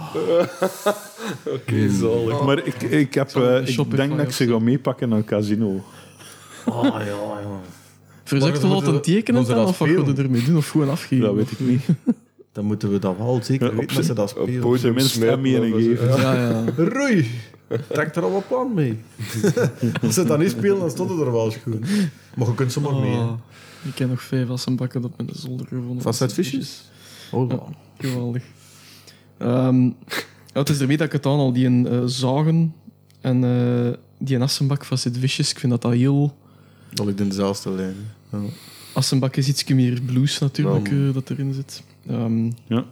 S2: Oké, zalig.
S7: Maar ik, ik, heb,
S1: Zal ik
S7: eh,
S1: een
S7: ik
S1: Shopify
S7: denk dat ik
S1: of
S7: ze
S1: zo?
S7: ga meepakken naar een casino.
S8: Ah, ja, ja.
S1: Verzucht
S8: Maar
S1: te laten
S8: moeten we-
S1: tekenen
S8: moeten we
S1: dan,
S8: dat
S1: of wat we
S8: spelen?
S1: ermee doen, of gewoon afgeven.
S7: Dat weet ik niet.
S8: Dan moeten we dat wel zeker
S7: Ja, op
S8: weten dat ze dat
S2: Op
S8: spelen.
S2: podium
S7: Tenminste,
S2: smijten
S7: hem hier
S2: of zo.
S7: geven.
S2: Ja.
S1: Ja, ja.
S8: Roei! Trek er al wat plan mee. Als ze dat niet spelen, dan stond het er wel schoon. Maar je kunt ze maar mee. hè.
S1: Oh, ik heb nog vijf assenbakken op mijn zolder gevonden.
S4: Van Seth Fishes. Oh, ja.
S1: Geweldig. Ehm, ja, het is ermee dat ik het aan al die een eh, zagen en eh, die een assenbak van Sid Vicious, ik vind dat dat heel...
S4: Dat ligt in dezelfde lijn.
S1: Assenbak is iets meer blues natuurlijk, eh, dat erin zit. Ehm,
S7: Ja.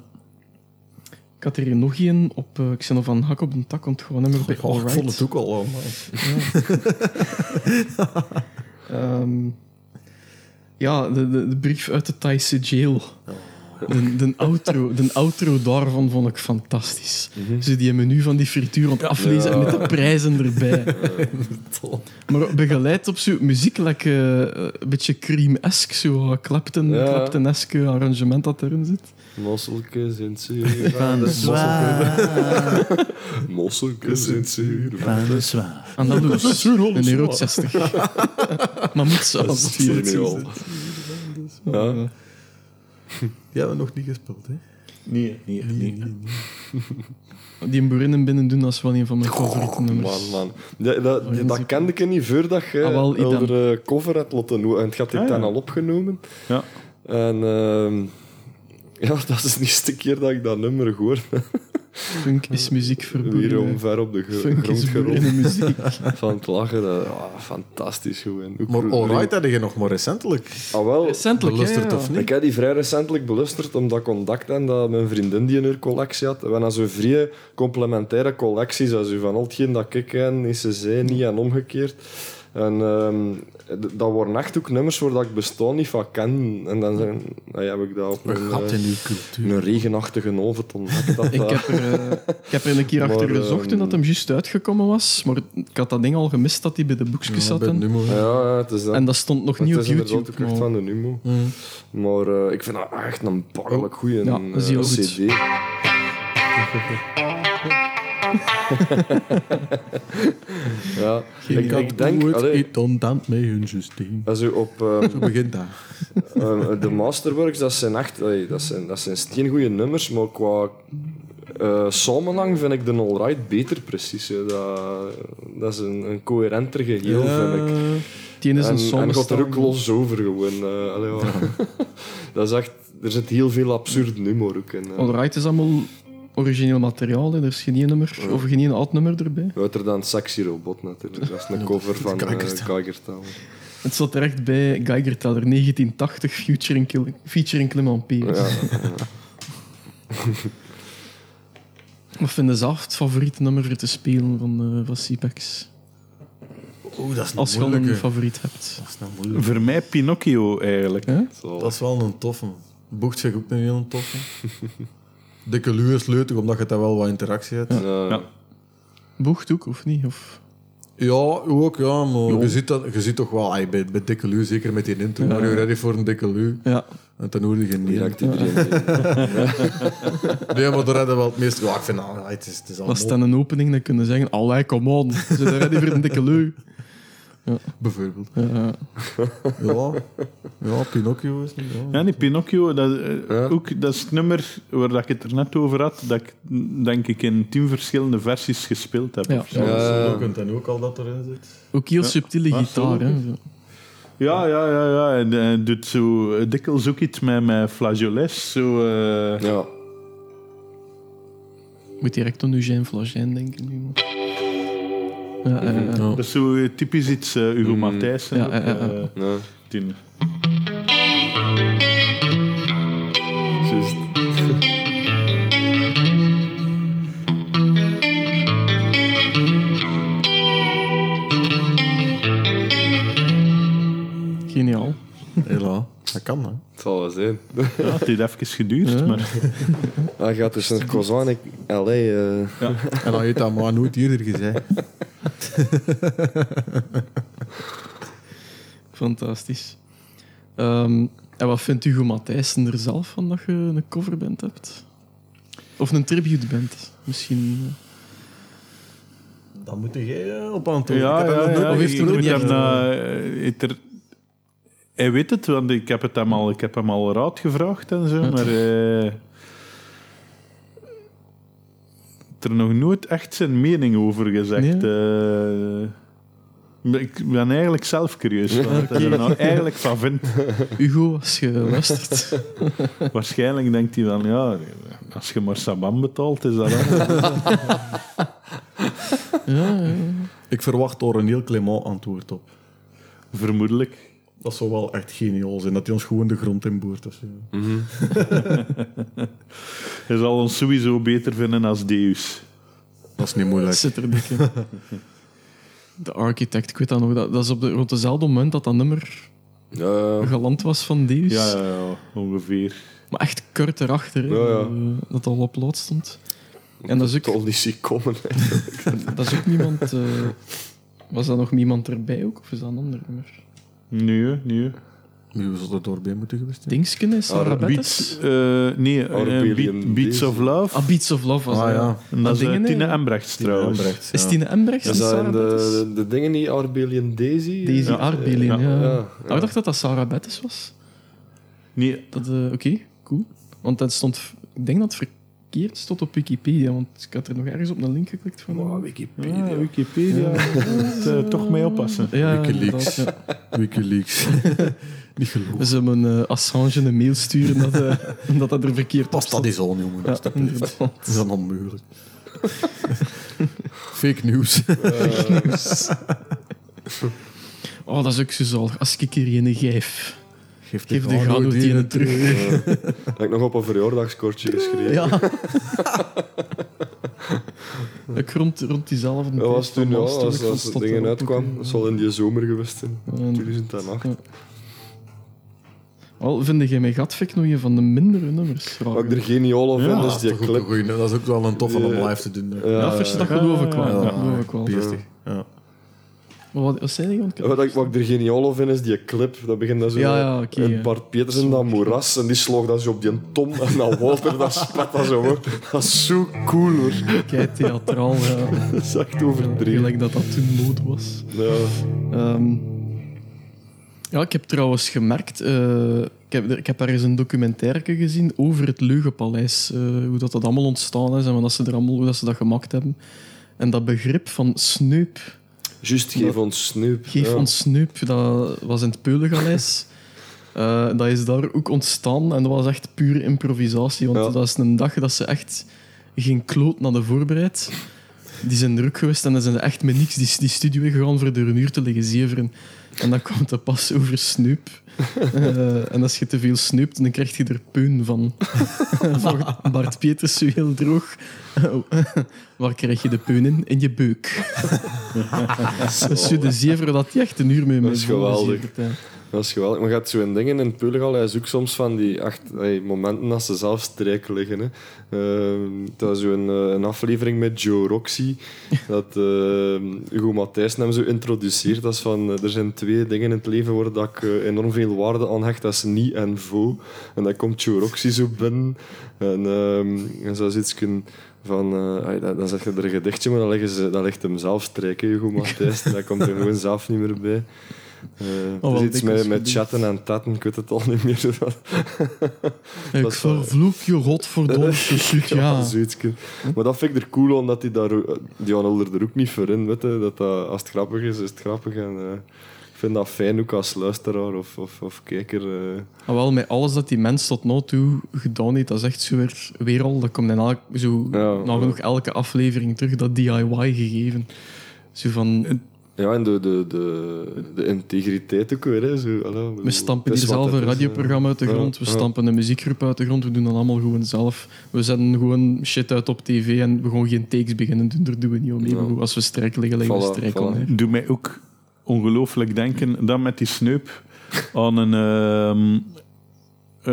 S1: ik had er hier nog één op eh, Xeno van Hak op de tak, want gewoon nummer bij
S8: Oh, ik
S1: Alright.
S8: vond het ook al. man.
S1: Ehm, ja, de, de, de brief uit de Thaise jail.
S2: Oh.
S1: De, de, outro, de outro daarvan vond ik fantastisch.
S2: Mhm.
S1: Ze die menu van die frituur op aflezen en met de prijzen erbij.
S2: Eh,
S1: maar begeleid op zo'n muziek, like, eh, een beetje cream-esque, zo'n Clapton-
S2: Ja.
S1: Clapton-esque arrangement dat erin zit.
S2: Mosselkes in het zuur van de Mosselkes in het zuur van de
S1: En dat dus een euro 60. maar moet ze als
S2: Geniaal.
S7: dus, eh.
S2: Ja.
S8: Die hebben we nog niet gespeeld, hè?
S7: Nee, nee, nee.
S1: Die boerinnen binnen doen, dat is wel een van mijn favoriete nummers.
S2: Man, man. Ja,
S7: Oh,
S2: dat, die- dat kende ik niet voordat je
S1: Ah, wel, ik dan.
S2: onder eh, cover had laten doen. En het had ik
S7: Ah, ja.
S2: dan al opgenomen.
S7: Ja.
S2: En ehm, ja, dat is de eerste keer dat ik dat nummer hoor.
S1: Funk is muziek voor
S2: Weer
S1: boerinnen.
S2: omver op de gro-
S1: Funk
S2: grond
S1: is
S2: gerold.
S1: boerinnenmuziek.
S2: Van het lachen. Dat, ja, fantastisch goed. En ook
S8: Maar
S2: goed-
S8: Alright hadden je nog maar recentelijk.
S2: Ah, wel.
S1: Recentelijk,
S8: Belusterd
S1: ja,
S8: of
S1: ja.
S8: niet?
S2: Ik heb die vrij recentelijk belusterd, omdat ik contact had dat mijn vriendin die in haar collectie had. We hebben zo'n vrije complementaire collecties. Als u van al hetgeen dat ik ken, is ze zij niet en omgekeerd. En ehm, d- dat waren echt ook nummers waar dat ik bestaan niet van ken. En dan zijn, dan heb ik dat op een,
S8: Gat
S2: eh,
S8: in uw cultuur.
S2: een regenachtige avond ontdekt. Dat,
S1: Ik
S2: dat-
S1: heb, er, eh, ik heb er een keer
S2: Maar,
S1: achter
S2: eh,
S1: gezocht toen dat hem juist uitgekomen was. Maar ik had dat ding al gemist dat hij bij de boekjes zat.
S8: bij
S1: en-
S8: Numo, hè.
S2: Ja, ja, het is dat.
S1: En dat stond nog niet op
S2: het is inderdaad
S1: YouTube.
S2: ook echt
S1: maar- Mm.
S2: van de Numo. Maar eh, ik vind dat echt een barlijk goede
S1: Oh. Ja, dat is heel goed.
S2: eh, CD. ja, ik, ik denk,
S8: Doe het
S2: allee,
S8: niet ondant met hun systeem.
S2: als u op ehm,
S8: Zo begint dat.
S2: ehm, de Masterworks, dat zijn echt, allee, dat zijn, dat zijn goede nummers, maar qua eh samenhang vind ik de Alright beter precies. hè. Dat, dat is een, een coherenter geheel, vind ik.
S1: Die ene is een
S2: En, en gaat er ook
S1: samenstelling.
S2: los over gewoon. eh, allee, ja. dat is echt... Er zit heel veel absurd humor ook in. eh.
S1: Alright is allemaal origineel materiaal. hè. Er is geen één nummer, of geen één oud nummer erbij.
S2: Wouter dan Sexy Robot natuurlijk. Dat is een cover van eh, Geigertaal.
S1: Het zat terecht bij Geiger Teller 1980 featuring, Kil- featuring Clement Peers.
S2: Ja.
S1: Wat vinden ze af het favoriete nummer voor te spelen van, eh van CPAX?
S8: Oeh, dat is een
S1: Als je al een
S8: moeilijke.
S1: favoriet hebt.
S8: Dat is een moeilijke.
S7: Voor mij Pinocchio eigenlijk.
S2: Zo.
S8: Dat is wel een toffe. Boegt zich ook een heel toffe. Dikke luw is leutig, omdat je daar wel wat interactie hebt. Ja,
S2: Eh,
S7: Ja.
S1: Boegt ook, of niet? Of...
S8: ook, ja. Maar je ziet, dat, je ziet toch wel, ey, bij, bij dikke luw, zeker met die intro, maar je ready voor een dikke luw.
S1: Ja,
S8: En ten hoorde je niet.
S2: direct iedereen.
S8: Nee, maar daar hadden we wel het meest... Ja, ik vind, ah, het is, het is
S1: als het
S8: allemaal
S1: dan een opening dan kunnen zeggen: Allee, come on, ze zijn ready voor een dikke leu.
S8: bijvoorbeeld.
S1: Ja.
S8: Ja, ja Pinocchio is niet... Ja.
S7: Ja, die Pinocchio, dat, eh, ook, dat is het nummer waar dat ik het er net over had, dat ik mm, denk ik in tien verschillende versies gespeeld heb.
S1: Ja.
S7: of zo.
S8: Ja, dat is ook, en ook al dat erin zit.
S1: Ook heel subtiele
S7: Ah,
S1: gitaar.
S7: zo.
S1: Hè. Zo.
S7: Ja, ja, ja, ja. En eh, doet zo eh, dikwijls ook iets met, met flageolets. Zo, eh,
S2: Ja.
S1: Moet direct aan Eugène Flagijn denken nu. maar. Ja, ja, ja.
S7: Dat is zo eh, typisch iets eh Hugo Matthijssen.
S1: Ja,
S7: ook,
S1: ja, ja, ja.
S7: eh,
S2: ja.
S7: tien.
S2: Juist.
S1: Geniaal.
S8: Ja, dat kan, hè.
S2: Het zal wel zijn.
S7: Ja, het heeft even geduurd, maar
S2: Hij gaat dus naar Kozan. Ik, LA, eh,
S8: En dan heeft dat maar nooit eerder gezegd.
S1: Fantastisch. Ehm, en wat vindt Hugo Matthijssen er zelf van dat je een coverband hebt? Of een tributeband, misschien. eh.
S8: Dan moet jij eh, op antwoorden.
S7: Ja,
S8: Ik heb
S7: ja,
S8: dat nog
S7: ja,
S8: nooit-
S1: of heeft
S7: ik
S1: hij er
S7: moet
S1: niet
S7: hem,
S1: echt
S7: eh, heeft er- Hij weet het, want ik heb, het hem, al, ik heb hem al raad gevraagd en zo, maar... eh, heeft er nog nooit echt zijn mening over gezegd. eh. ik ben eigenlijk zelf curieus wat hij er nou eigenlijk van vindt.
S1: Hugo, als je luistert.
S7: Waarschijnlijk denkt hij van, ja, als je maar Saban betaalt, is dat allemaal.
S8: Ik verwacht daar een heel Clement antwoord op.
S7: Vermoedelijk.
S8: Dat zou wel echt geniaal zijn, dat hij ons gewoon de grond in boort. of zo.
S7: Hij zal ons sowieso beter vinden als Deus.
S8: Dat is niet moeilijk.
S1: Zit er dik in. De Architect, ik weet dat nog. Dat, dat is op de, rond dezelfde moment dat dat nummer
S2: Ja, ja.
S1: geland was van Deus.
S7: Ja, ja, ja, ongeveer.
S1: Maar echt kort erachter, hè,
S2: Ja, ja.
S1: eh, dat al op lood stond. En dat is ook,
S2: Tot die zie komen. hè.
S1: dat is ook niemand... eh, was daar nog niemand erbij ook? Of is dat een ander nummer?
S7: Nee, nee.
S8: Nu zou er doorbij moeten geweest zijn.
S1: Dingsken
S2: Ah,
S1: is Sarah Bettes?
S7: Beats, eh, nee, eh,
S2: Arbelian
S7: Beat- Beats
S2: Days.
S7: of Love.
S1: Ah, Beats of Love was
S8: Ah,
S1: dat,
S8: ja.
S7: en dat is eh,
S1: dingen,
S7: Tine
S1: eh,
S7: Embrechts trouwens.
S8: Brecht,
S1: Is
S8: ja.
S1: Tine Embrechts en
S2: Is dat
S1: Sarah
S2: in
S1: Bettes?
S2: de, de dingen niet? Arbelie en Daisy?
S1: Daisy
S7: Ja.
S1: Arbeline,
S7: Ja.
S1: ja.
S2: Ja,
S1: Ah, ik dacht dat dat Sarah Bettes was.
S7: Nee,
S1: Dat, eh, Oké, cool. Want dat stond... Ik denk dat het verkeerd stond op Wikipedia, want ik had er nog ergens op een link geklikt van.
S7: Wikipedia. Ah, Wikipedia. Moet, eh, toch mee oppassen.
S1: Ja,
S8: Wikileaks.
S1: inderdaad, ja.
S8: Wikileaks. niet geloofd.
S1: We zullen een Assange een mail sturen dat, eh, dat dat er verkeerd op
S8: Pas dat
S1: staat.
S8: is al, jongen.
S1: Ja, inderdaad.
S8: Dat is dan onmogelijk. Fake news.
S1: Oh, dat is ook zo zalig. Als ik hier een geef,
S8: Geef
S1: geef de gado die een terug.
S2: Heb ik nog op een verjaardagskortje geschreven.
S1: Ja. ik rond, rond diezelfde
S2: Dat was
S1: tijd
S2: toen,
S1: van
S2: ja,
S1: Maas,
S2: als,
S1: ik
S2: als
S1: vast
S2: het
S1: dat
S2: ding
S1: er ook
S2: uitkwam.
S1: een-
S2: Dat zal in die zomer geweest zijn.
S1: een-
S2: 2008.
S1: Ja. Al vind jij mij gatveknoeien van de mindere nummers?
S2: Wat ik er geniaal aan vind,
S7: Ja,
S2: is die
S8: Ah, Dat is, ook
S2: clip.
S8: een goeie, dat is ook wel een toffe
S2: Ja.
S8: om live te doen. hè.
S1: Ja, vers, dat geloof ik wel.
S7: Ja,
S1: dat geloof ik wel.
S8: Beestig. Ja.
S1: Maar wat, wat zei je? Want ik heb-
S2: Wat ik, wat ik er geniaal aan vind, is die clip. Dat begint dan zo...
S1: Ja, ja, oké,
S2: en
S1: ja.
S2: Bart Peters in dat moeras. En die sloeg dan zo op die tom. En dan Walter, dat spat dat zo. hoor. Dat is zo cool, hoor.
S1: Kei theatraal, ja.
S2: Dat is echt overdreven.
S1: Gelijk dat dat toen mode was.
S2: Ja.
S1: Ehm, ja, ik heb trouwens gemerkt... eh, ik, heb, er- ik heb ergens een documentaire gezien over het Leugenpaleis. eh, hoe dat, dat allemaal ontstaan is en wat dat ze er allemaal, hoe dat ze dat gemaakt hebben. En dat begrip van sneup,
S2: Juist, geef ons snoep.
S1: geef
S2: Ja.
S1: ons sneup, dat was in het Peulengaleis. Eh, dat is daar ook ontstaan en dat was echt pure improvisatie. Want
S2: Ja.
S1: dat is een dag dat ze echt geen kloot naar de voorbereid. Die zijn druk geweest en dan zijn ze echt met niks die, die studio ingegaan voor de muur te liggen zeveren. En dan komt de pas over snoep. Eh, en als je te veel snoept, dan krijg je er peun van. Volgt Bart Peters zo heel droog. Oh. Waar krijg je de peun in? In je beuk. dat is zo de zever dat die echt een uur mee
S2: Dat is
S1: met volle
S2: geweldig.
S1: zevert, hè.
S2: Dat is geweldig. Maar je hebt zo'n dingen in Peulegal, hij zoekt soms van die acht, ey, momenten als ze zelf strijk liggen. Hè. Ehm, dat is zo'n eh, een aflevering met Joe Roxy, dat ehm, Hugo Matthijs hem zo introduceert. Dat is van, eh, er zijn twee dingen in het leven waar dat ik eh, enorm veel waarde aan hecht, dat is niet en vo. En dan komt Joe Roxy zo binnen en, ehm en zo zoiets kunnen van, eh, ai, dan, dan zeg je er een gedichtje, maar dan, leggen ze, dan ligt hem zelf strijken, Hugo Matthijs. En dan komt er gewoon zelf niet meer bij. Eh,
S1: wel
S2: het is iets
S1: dikwijls
S2: met, met
S1: gebeurd.
S2: chatten en tatten, ik weet het al niet meer. Dat,
S1: Ik
S2: Dat is wel-
S1: vervloek je godverdomme shit, ja.
S2: zoiets. Maar dat vind ik er cool aan, dat die daar... eh, Die hadden er ook niet voor in, weet je. Dat dat, als het grappig is, is het grappig. En, eh, ik vind dat fijn ook als luisteraar of, of, of kijker. eh.
S1: Ah, wel, met alles dat die mens tot nu toe gedaan heeft, dat is echt zo weer, weer al. Dat komt in elk, zo
S2: Ja,
S1: nagenoeg elke aflevering terug, dat DIY gegeven. Zo van,
S2: Ja, en de, de, de, de integriteit ook weer. Hè, zo, voilà.
S1: we stampen
S2: Het
S1: hier
S2: is wat
S1: zelf een
S2: het is, hè.
S1: radioprogramma uit de
S2: Ja,
S1: grond, we
S2: ja.
S1: stampen een muziekgroep uit de grond, we doen dat allemaal gewoon zelf. We zetten gewoon shit uit op tv en we gewoon geen takes beginnen doen, daar doen we niet om.
S2: Ja.
S1: Als we strijk liggen, liggen we
S2: Voilà,
S1: strijk
S2: voilà.
S1: aan. hè.
S7: Doe mij ook ongelooflijk denken, dan met die sneup, aan een, ehm,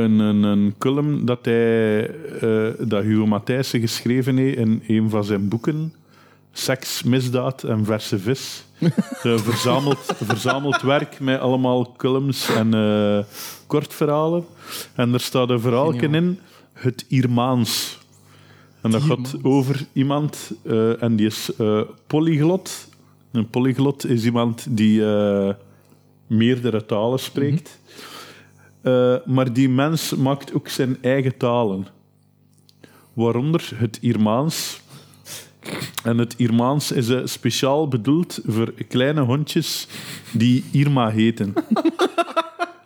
S7: een, een, een column dat, hij, eh, dat Hugo Matthijssen geschreven heeft in een van zijn boeken. Seks, misdaad en verse vis. Een verzameld, verzameld werk met allemaal columns en eh, kortverhalen. En er staat een verhaaltje
S1: Geniaal.
S7: in, het Irmaans. En dat gaat
S1: Irmaans.
S7: over iemand, eh, en die is eh, polyglot. Een polyglot is iemand die eh, meerdere talen spreekt.
S1: Mhm.
S7: Eh, maar die mens maakt ook zijn eigen talen. Waaronder het Irmaans. En het Irmaans is eh, speciaal bedoeld voor kleine hondjes die Irma heten.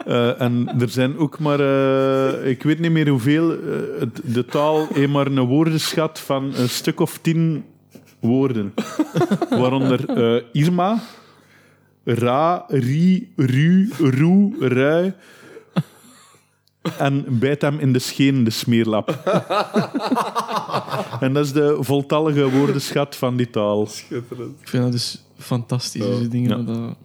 S7: Eh, en er zijn ook maar, eh, ik weet niet meer hoeveel, eh, het- de taal heeft maar een woordenschat van een stuk of tien woorden. Waaronder eh, Irma, ra, ri, ru, roe, rui. En bijt hem in de scheen, de smeerlap. en dat is de voltallige woordenschat van die taal.
S2: Schitterend.
S1: Ik vind dat dus fantastisch, die dingen.
S7: Ja.
S1: maar Dat,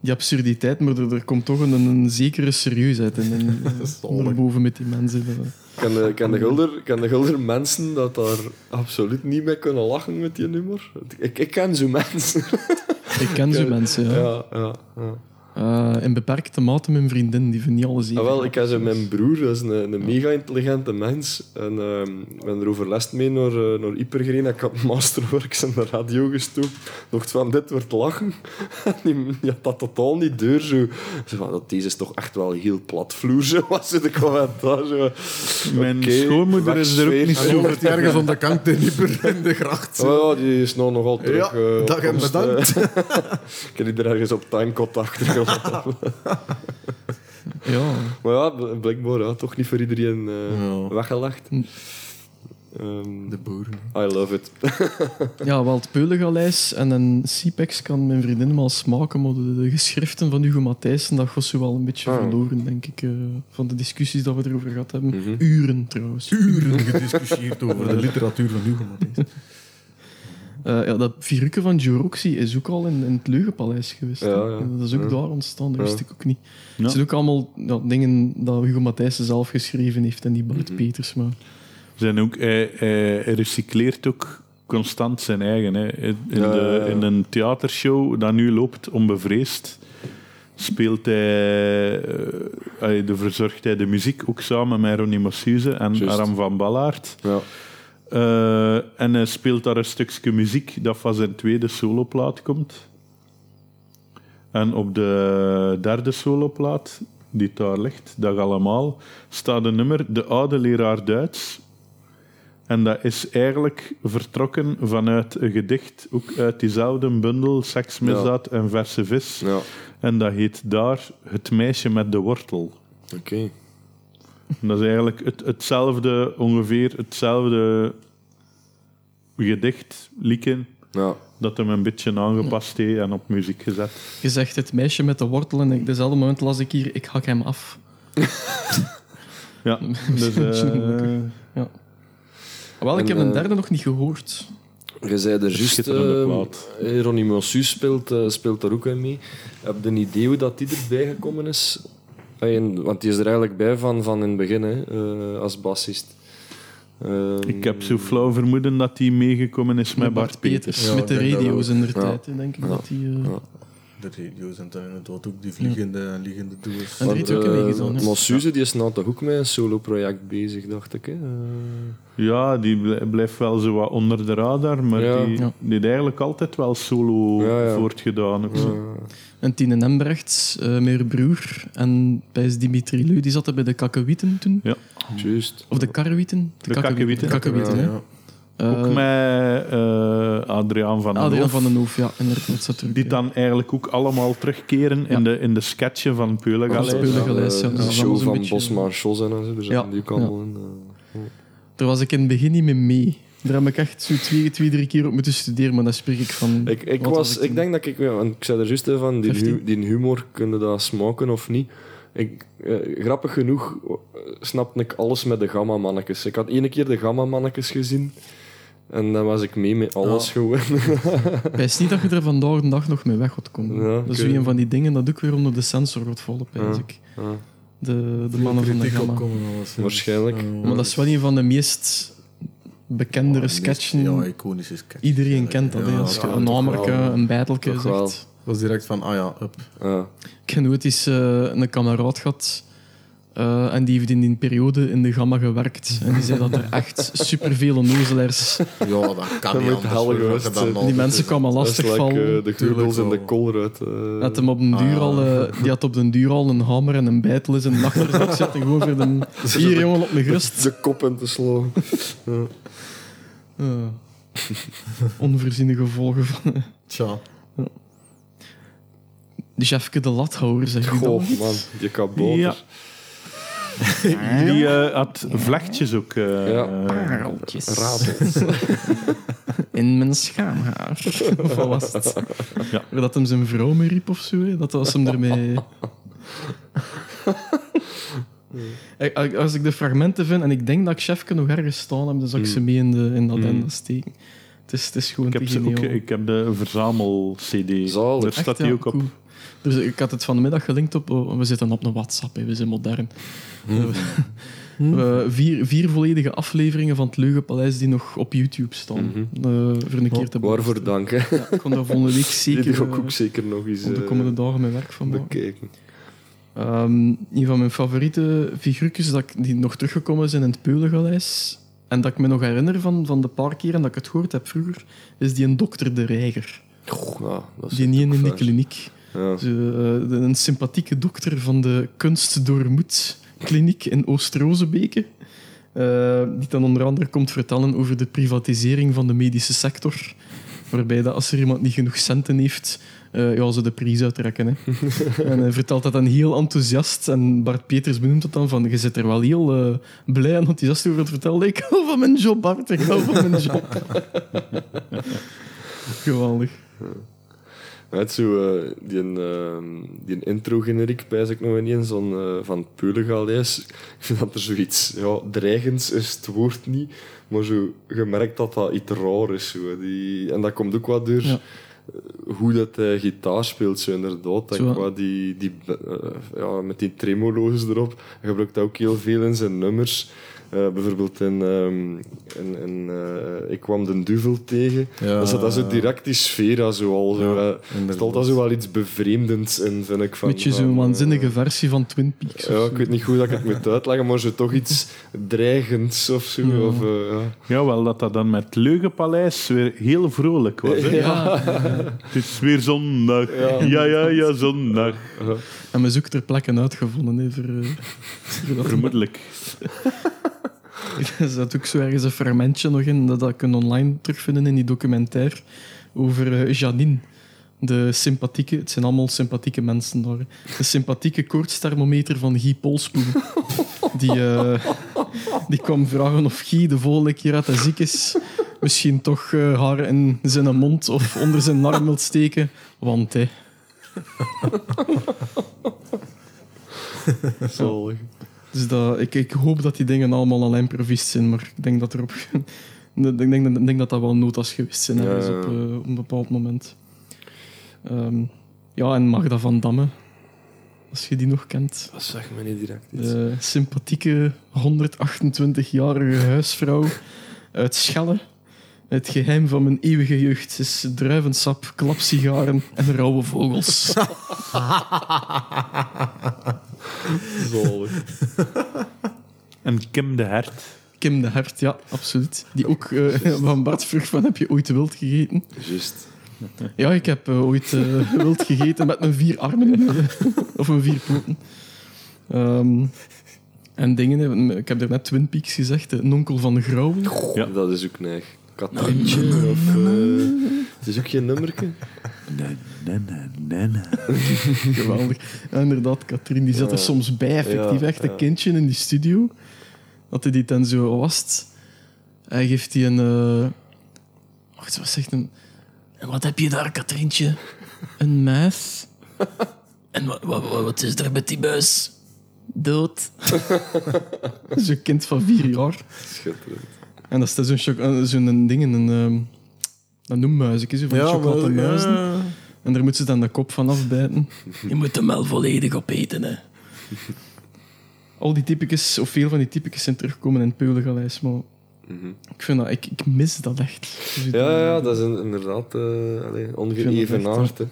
S1: die absurditeit, maar er, er komt toch een, een zekere serieusheid in. En, eh, boven met die mensen. Dat,
S2: Kan de, kan, eh, de gulder, kan de gulder mensen dat daar absoluut niet mee kunnen lachen met die nummer? Ik, ik ken zo mensen.
S1: ik ken zo mensen, ja.
S2: Ja, ja. ja.
S1: Eh, in beperkte mate mijn vriendin, die vindt niet alles even.
S2: Ah, wel, ik heb zo mijn broer, dat is een, een mega intelligente mens. En ehm, ik ben er overlast mee naar, eh, naar Ieper gereden. Ik had Masterworks en de radio gestoken. Dacht van, dit wordt lachen. En die, die had dat totaal niet deur. Zo. Zo van, dat, deze is toch echt wel heel platvloer, zo was in de commentaar. Zo.
S7: Mijn
S2: Oké,
S7: schoonmoeder is er ook
S2: wegsfeer.
S7: niet zo
S2: Ah,
S4: Wordt ergens om de kant in dieper in de gracht.
S2: ja, ja, Ah, die is nou nogal terug.
S4: Ja,
S2: eh, op
S4: dag en
S2: komst,
S4: bedankt.
S2: eh. ik heb die er ergens op tuinkot achter gelaten.
S1: Ja,
S2: maar ja, bl- blijkbaar ja, toch niet voor iedereen eh,
S8: Ja.
S2: weggelacht. Ehm,
S8: De boeren.
S2: I love it.
S1: ja wel het Peulengalijs en een Sipex kan mijn vriendin wel smaken, maar de, de geschriften van Hugo Matthijssen, dat was zo wel een beetje
S2: Ah.
S1: verloren, denk ik, eh, van de discussies dat we erover gehad hebben.
S2: Mhm.
S1: Uren trouwens.
S4: Uren gediscussieerd over de literatuur van Hugo Matthijs.
S1: Eh, ja, dat Viruke van Juroxy is ook al in, in het Leugenpaleis geweest. hè.
S2: Ja, ja.
S1: En Dat is ook daar ontstaan, dat
S2: Ja.
S1: wist ik ook niet.
S7: Ja.
S1: Het zijn ook allemaal ja, dingen dat Hugo Matthijssen zelf geschreven heeft en die Bart
S2: Mhm.
S1: Peters. Maar
S7: zijn ook, hij, hij recycleert ook constant zijn eigen. Hè. In, in
S2: Ja, ja, ja.
S7: de, in een theatershow dat nu loopt, onbevreesd, speelt hij, eh, hij- de verzorgt hij de muziek ook samen met Ronnie Massuze en
S2: Juist.
S7: Aram van Ballaert.
S2: Ja.
S7: Eh, en hij speelt daar een stukje muziek dat van zijn tweede soloplaat komt. En op de derde soloplaat, die daar ligt, Dag Allemaal, staat een nummer De Oude Leraar Duits. En dat is eigenlijk vertrokken vanuit een gedicht, ook uit diezelfde bundel, Seksmisdaad en Verse Vis.
S2: Ja,
S7: En dat heet daar Het Meisje met de Wortel.
S2: oké.
S7: En Dat is eigenlijk het, hetzelfde, ongeveer hetzelfde gedicht, lieken,
S2: Ja.
S7: dat hem een beetje aangepast heeft en op muziek gezet.
S1: je zegt het meisje met de wortel en op dezelfde moment las ik hier, ik hak hem af.
S7: Ja, dus... eh,
S1: Ah, Wel, ik
S2: En,
S1: heb een
S2: eh,
S1: derde nog niet gehoord.
S2: Je zei er juist...
S7: Schitterende
S2: Uh,
S7: plaat.
S2: Ronnie Mossu speelt, eh, speelt daar ook aan mee. Heb je een idee hoe dat die erbij gekomen is? Ah, en- want die is er eigenlijk bij van, van in het begin, hè, eh, als bassist. Ehm,
S7: Ik heb zo flauw vermoeden dat hij meegekomen is met, Bart, Peters.
S4: Ja,
S1: met de
S4: ik denk dat
S1: radio's in de
S2: Ja.
S1: tijd, hè, denk ik. Dat die, eh,
S4: De radio's en dan inderdaad ook die vliegende en liggende doers.
S1: En er
S2: want,
S1: heeft ook een
S2: eh,
S1: meegedaan, hè.
S2: Mossuze, die is nou toch ook met een solo-project bezig, dacht ik. Hè? Eh,
S7: Ja, die bl- blijft wel zo wat onder de radar, maar
S2: Ja.
S7: die,
S1: Ja.
S7: die heeft eigenlijk altijd wel solo
S2: Ja, ja.
S7: voortgedaan.
S2: Eh,
S7: ook zo.
S1: En Tine Nembrechts, eh meer broer. En bij is Dimitri Leu, die zaten bij de kakkewieten toen.
S2: Juist.
S1: Of de karrewieten?
S7: De kakkewieten.
S1: De kakkewieten,
S2: Ja,
S1: hè. Eh,
S7: Ook met eh, Adriaan van den
S1: Adriaan
S7: Hoof.
S1: van den Hoof, ja, inderdaad. Zat er ook
S7: Die
S1: in.
S7: dan eigenlijk ook allemaal terugkeren in,
S1: Ja.
S7: de, in de sketchen van
S1: Van
S7: Peulengalerij.
S1: Speulen.
S2: Ja,
S1: Gelijs, ja,
S2: de
S1: dat is wel
S2: show
S1: zo'n
S2: van
S1: beetje-
S2: Bosman Schos en zo, daar zaten
S1: Ja,
S2: die ook
S1: ja.
S2: allemaal in. eh.
S1: Daar was ik in het begin niet mee mee. Daar heb ik echt zo twee, twee drie keer op moeten studeren, maar daar spreek ik van.
S2: Ik, ik,
S1: Wat
S2: was, ik
S1: toen?
S2: denk dat ik, ja, want ik zei er juist hè, van, die, hu-
S1: 15.
S2: die humor, kunnen dat smaken of niet? Ik, eh, grappig genoeg eh, snapte ik alles met de gamma-mannetjes. Ik had één keer de gamma-mannetjes gezien en dan was ik mee met alles gewoon.
S1: Ik wijs niet dat je er vandaag de dag nog mee weg gaat komen.
S2: Ja,
S1: Dat is
S2: oké.
S1: weer een van die dingen dat ook weer onder de sensor wordt vallen, pijs
S2: Ja,
S1: ik.
S2: ja.
S1: De, de mannen van de
S4: Kritiek
S1: gamma.
S4: opkomen en
S8: eh,
S4: alles.
S2: Waarschijnlijk.
S4: Ja,
S1: Maar dat is wel een van de meest bekendere sketchen.
S4: Ja, iconische sketch.
S1: Iedereen kent dat. hè.
S4: Ja,
S1: Als je
S4: ja,
S1: een
S4: toch
S1: namerke,
S4: wel.
S1: een bijtelke
S2: Toch wel.
S1: zegt.
S4: Dat was direct van, ah ja, up.
S2: Ja.
S1: Ik heb nooit eens eh, een kameraad gehad. eh, en die heeft in die periode in de gamma gewerkt. En die zei dat er echt superveel onnozelaars...
S4: Ja, dat kan niet
S2: moet
S4: anders.
S2: hel
S4: hoor,
S2: geweest
S4: Oh, dat je dan
S2: zijn.
S4: altijd
S1: Die mensen
S4: is.
S1: kwamen
S2: Dat is
S1: lastig
S2: like,
S1: vallen.
S2: eh, de
S4: Tuurlijk
S2: gurgels en
S4: wel.
S2: de kolruit. eh.
S1: Dat hem op een
S4: Ah,
S1: duur
S4: ja.
S1: al, eh, die had op den duur al een hamer en een bijtel in zijn achterzak zitten. Gewoon voor de... Hier, jongen, op mijn gerust.
S2: de kop in te slaan.
S1: Eh, onvoorziene gevolgen van...
S4: Tja.
S1: De chefke de lathouwer, zeg je
S2: Goh,
S1: dat?
S2: man, je kabouter.
S7: Ja. Die eh, had vlechtjes ook. eh,
S2: Ja.
S1: Pareltjes.
S2: Ratels.
S1: in mijn schaamhaar. of wat was het?
S7: Ja.
S1: Waar Dat hem zijn vrouw mee riep of zo. hè. Dat was hem ermee... Ik- als- Eh, Als ik de fragmenten vind en ik denk dat ik Chefke nog ergens staan heb, dan zal ik ze mee in, de, in dat enda steken. Het is, het is gewoon
S7: Hmm. Ik heb,
S1: te
S7: ze ook,
S1: geniaal.
S7: ik heb de verzamel-CD.
S2: Zalig.
S7: Daar staat
S1: Echt,
S7: die
S1: ja,
S7: ook op.
S1: cool. Dus ik had het van de middag gelinkt op. oh, we zitten op een WhatsApp, hè, we zijn modern.
S2: Hm.
S1: We- we- vier, vier volledige afleveringen van het Leugenpaleis die nog op YouTube staan. Eh, voor een keer te
S2: Mhm. Waarvoor
S1: beluisteren.
S2: dank, hè.
S1: Ja, ik kon daar volgende week
S2: Die
S1: zeker.
S2: ga ik
S1: eh,
S2: ook zeker nog eens
S1: op de
S2: eh,
S1: komende dagen mijn werk van maken.
S2: bekijken.
S1: Ehm, een van mijn favoriete figuurtjes dat ik, die nog teruggekomen zijn in het Peulengaleis. En dat ik me nog herinner van, van de paar keren dat ik het gehoord heb vroeger, is die een dokter de Reiger.
S2: Goh, ja, dat is
S1: Die niet in
S2: ook
S1: de
S2: fijn.
S1: kliniek.
S2: Ja.
S1: Ze, eh, de- een sympathieke dokter van de Kunst door Moed kliniek in Oost-Rozebeke. eh, die dan onder andere komt vertellen over de privatisering van de medische sector. Waarbij dat als er iemand niet genoeg centen heeft, eh, ja, ze de prijs uittrekken. Hè. en hij vertelt dat dan heel enthousiast. En Bart Peters benoemt dat dan van, je zit er wel heel eh, blij en enthousiast over te vertellen. Ik hou van mijn job, Bart. Ik hou van mijn job. Geweldig.
S2: Net zo, eh, die, ehm, die intro-generiek pijs ik nog ineens zo'n, eh, van het Peulengaleis. Ik vind dat er zoiets ja, dreigends is, het woord niet. Maar zo, je merkt dat dat iets raar is. Zo, die, en dat komt ook wat door
S1: Ja.
S2: eh, hoe dat hij gitaar speelt, zo inderdaad.
S1: Zo.
S2: En qua die, die, eh, ja, met die tremolo's erop. Hij gebruikt dat ook heel veel in zijn nummers. Eh, bijvoorbeeld in, ehm, in, in, eh, Ik kwam de duvel tegen.
S8: Ja.
S2: Dan zat dat zo direct die sfeer al zo al. zo, eh,
S8: inderdaad.
S2: Stelt dat zo wel iets bevreemdends in, vind ik. Van,
S1: Beetje zo'n
S2: van,
S1: waanzinnige versie van Twin Peaks.
S2: eh, ja, ik weet niet goed dat ik het moet uitleggen, maar zo toch iets dreigends of zo.
S1: Ja.
S2: Of, eh, ja.
S7: Jawel, dat dat dan met Leugenpaleis weer heel vrolijk was. Hè? Het is weer zondag. Ja, ja, ja, zondag.
S1: En we zoeken er plekken uitgevonden. Hè, voor, eh, voor dat-
S7: Vermoedelijk.
S1: er zat ook zo ergens een fragmentje nog in dat dat kunnen online terugvinden in die documentaire over eh, Janine. De sympathieke, het zijn allemaal sympathieke mensen daar. hè. De sympathieke koortsthermometer van Guy Polspoel. Die, eh, die kwam vragen of Guy de volgende keer dat hij ziek is, misschien toch eh, haar in zijn mond of onder zijn arm wilt steken. Want hè.
S2: Zalig.
S1: Dus dat, ik, ik hoop dat die dingen allemaal al improvist zijn, maar ik denk dat er op, ik denk, ik denk dat dat wel notas geweest zijn
S2: Ja,
S1: ergens
S2: ja, ja.
S1: op, eh, op een bepaald moment. Ehm, ja, en Magda van Damme, als je die nog kent.
S2: Dat zegt me niet direct iets.
S1: De sympathieke 128-jarige huisvrouw uit Schelle. Het geheim van mijn eeuwige jeugd is druivensap, klapsigaren en rauwe vogels.
S2: Zalig.
S7: En Kim de Hert.
S1: Kim de Hert, ja, absoluut. Die ook eh, van Bart vroeg van, heb je ooit wild gegeten?
S2: Juist.
S1: Ja, ik heb eh, ooit eh, wild gegeten met mijn vier armen. of mijn vier poten. Ehm, en dingen, eh, ik heb daarnet Twin Peaks gezegd, de onkel van de grauwen.
S7: Ja.
S2: Dat is ook neig. Katrientje of... eh, het is ook geen nummerke.
S1: Geweldig. En inderdaad, Katrien, die zat er
S2: Ja.
S1: soms bij, effectief.
S2: Ja,
S1: Echt
S2: ja.
S1: een kindje in die studio. Dat hij die dan zo wast. Hij geeft die een... eh, Wacht, wat zegt hem? En wat heb je daar, Katrientje? Een muis? En wat, wat, wat is er met die muis? Dood. Zo'n kind van vier jaar.
S2: Schitterend.
S1: En dat is dan zo'n choc- eh, zo'n ding, een... ehm dat noemmuizen, zo van ja, chocolademuizen. En daar moet ze dan de kop van afbijten. Je moet hem wel volledig opeten, hè. Al die typicus, of veel van die typicus zijn teruggekomen in het Peulengaleis, maar... Ik vind dat... Ik, ik mis dat echt. Dus
S2: Ja, ja, dat is een- inderdaad eh allee, ongeëvenaard. hè.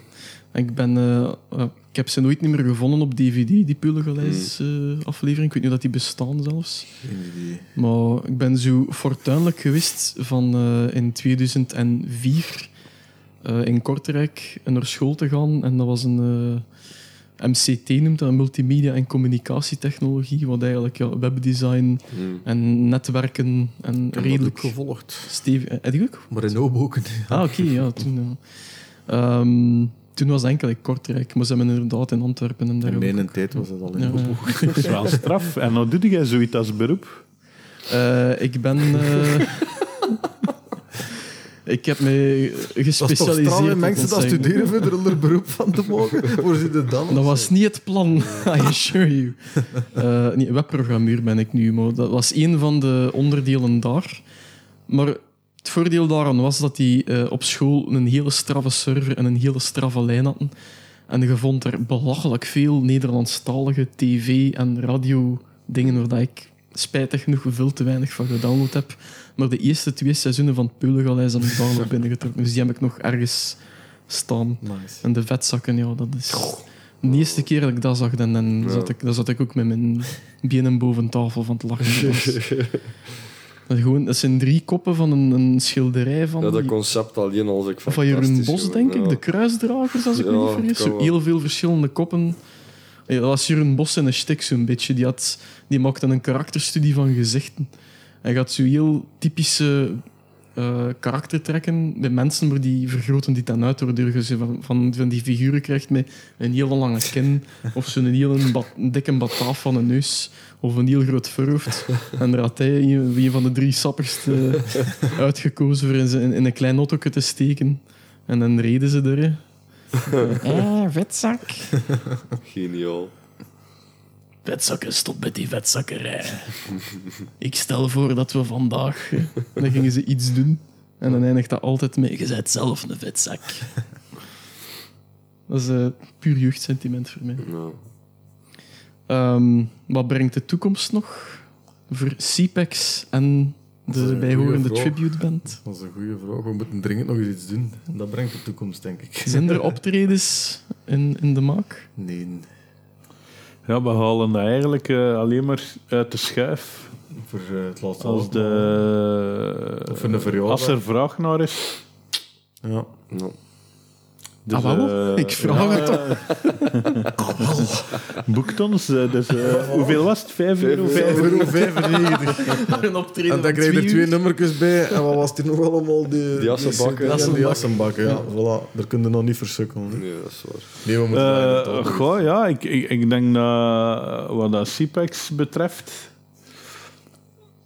S1: Ik ben... eh, eh, ik heb ze nooit niet meer gevonden op DVD, die Peulengaleis eh, aflevering. Ik weet niet of dat die bestaan zelfs. Maar ik ben zo fortuinlijk geweest van eh, in 2004 eh, in Kortrijk naar school te gaan. En dat was een eh, MCT, noemt dat, Multimedia en Communicatietechnologie, wat eigenlijk ja, webdesign en netwerken en redelijk...
S8: gevolgd.
S1: Stevig... eh, Heb je ook?
S8: Maar in Hoboken.
S1: Ah, oké, ja. Toen, ja. Ehm, toen was het enkel in Kortrijk, maar ze hebben inderdaad in Antwerpen en daar
S8: In
S1: ook-
S8: mijn tijd was dat al in
S1: Ja, ja.
S8: Hoboken.
S7: Dat is wel straf. En dan doe jij zoiets als beroep.
S1: Eh, ik ben. eh, Ik heb me
S8: Dat is toch straf, hè,
S1: gespecialiseerd.
S8: mensen dat
S1: ontzegging.
S8: studeren verder onder beroep van te mogen. Hoe zit het dan?
S1: Dat was niet het plan, I assure you. Eh, nee, webprogrammeur ben ik nu, maar dat was een van de onderdelen daar. Maar het voordeel daaraan was dat die eh, op school een hele straffe server en een hele straffe lijn hadden. En je vond er belachelijk veel Nederlandstalige tv- en radio-dingen waar dat ik spijtig genoeg veel te weinig van gedownload heb. Maar de eerste twee seizoenen van het Peulengalei zijn ik daar nog binnengetrokken. Dus die heb ik nog ergens staan.
S8: Nice.
S1: En de vetzakken, ja, dat is... De eerste keer dat ik dat zag, dan, dan, zat, ik, dan zat ik ook met mijn benen boven tafel van het lachen. Dat, was- dat, gewoon, dat zijn drie koppen van een, een schilderij van,
S2: Ja, dat
S1: die-
S2: concept alleen als ik
S1: van Jeroen
S2: fantastisch
S1: Bos,
S2: vind.
S1: denk ik.
S2: Ja.
S1: De kruisdragers, als ik me
S2: Ja,
S1: niet vergis.
S2: kan
S1: Zo
S2: wel.
S1: heel veel verschillende koppen. Ja, dat was Jeroen Bos en een stik zo'n beetje. Die, had, die maakte een karakterstudie van gezichten. Hij gaat zo heel typische eh, karaktertrekken bij mensen, maar die vergroten die dan uit, waardoor je ze van, van, van die figuren krijgt met een heel lange kin, of zo'n heel ba- dikke bataaf van een neus, of een heel groot voorhoofd. En daar had hij een een van de drie sappigste uitgekozen voor in, zijn- in een klein autootje te steken. En dan reden ze er. hè. Eh, vetzak.
S2: Geniaal.
S1: Vetzakken, stop met die vetzakkerij. Ik stel voor dat we vandaag... eh, Dan gingen ze iets doen. En dan eindigt dat altijd met... Je bent zelf een vetzak. Dat is eh, puur jeugdsentiment voor mij.
S2: Ja.
S1: Ehm, wat brengt de toekomst nog? Voor CPEX en
S8: is
S1: de
S8: een goeie
S1: bijhorende
S8: vraag.
S1: tributeband.
S8: Dat is een goede vraag. We moeten dringend nog eens iets doen. Dat brengt de toekomst, denk ik.
S1: Zijn er optredens in, in de maak?
S8: Nee,
S7: Ja, we halen dat eigenlijk eh, alleen maar uit de schuif.
S8: voor eh, het laatste
S2: Oh,
S7: Als,
S8: album.
S7: de,
S8: Of in de verjaardag.
S7: als er vraag naar is.
S8: Ja.
S2: Nou,
S7: Dus,
S1: ah, wel?
S7: eh,
S1: Ik vraag het toch.
S7: Boekt ons. eh, dus, eh, hoeveel was het? 5 euro? Vijf euro.
S8: Euro 95.
S1: Een optreden
S8: En dan krijg je er twee nummertjes bij. En wat was die nog allemaal? Die,
S2: Die jassenbakken.
S8: die- die- die
S1: Jassenbak.
S8: jassenbakken, ja. Voilà. Daar kun je nog niet versukkelen. hè.
S2: nee, dat is waar.
S8: Nee, we moeten eigenlijk
S7: Eh
S8: toch nog
S7: goh, ja, ik, ik, ik denk dat wat dat CPEX betreft,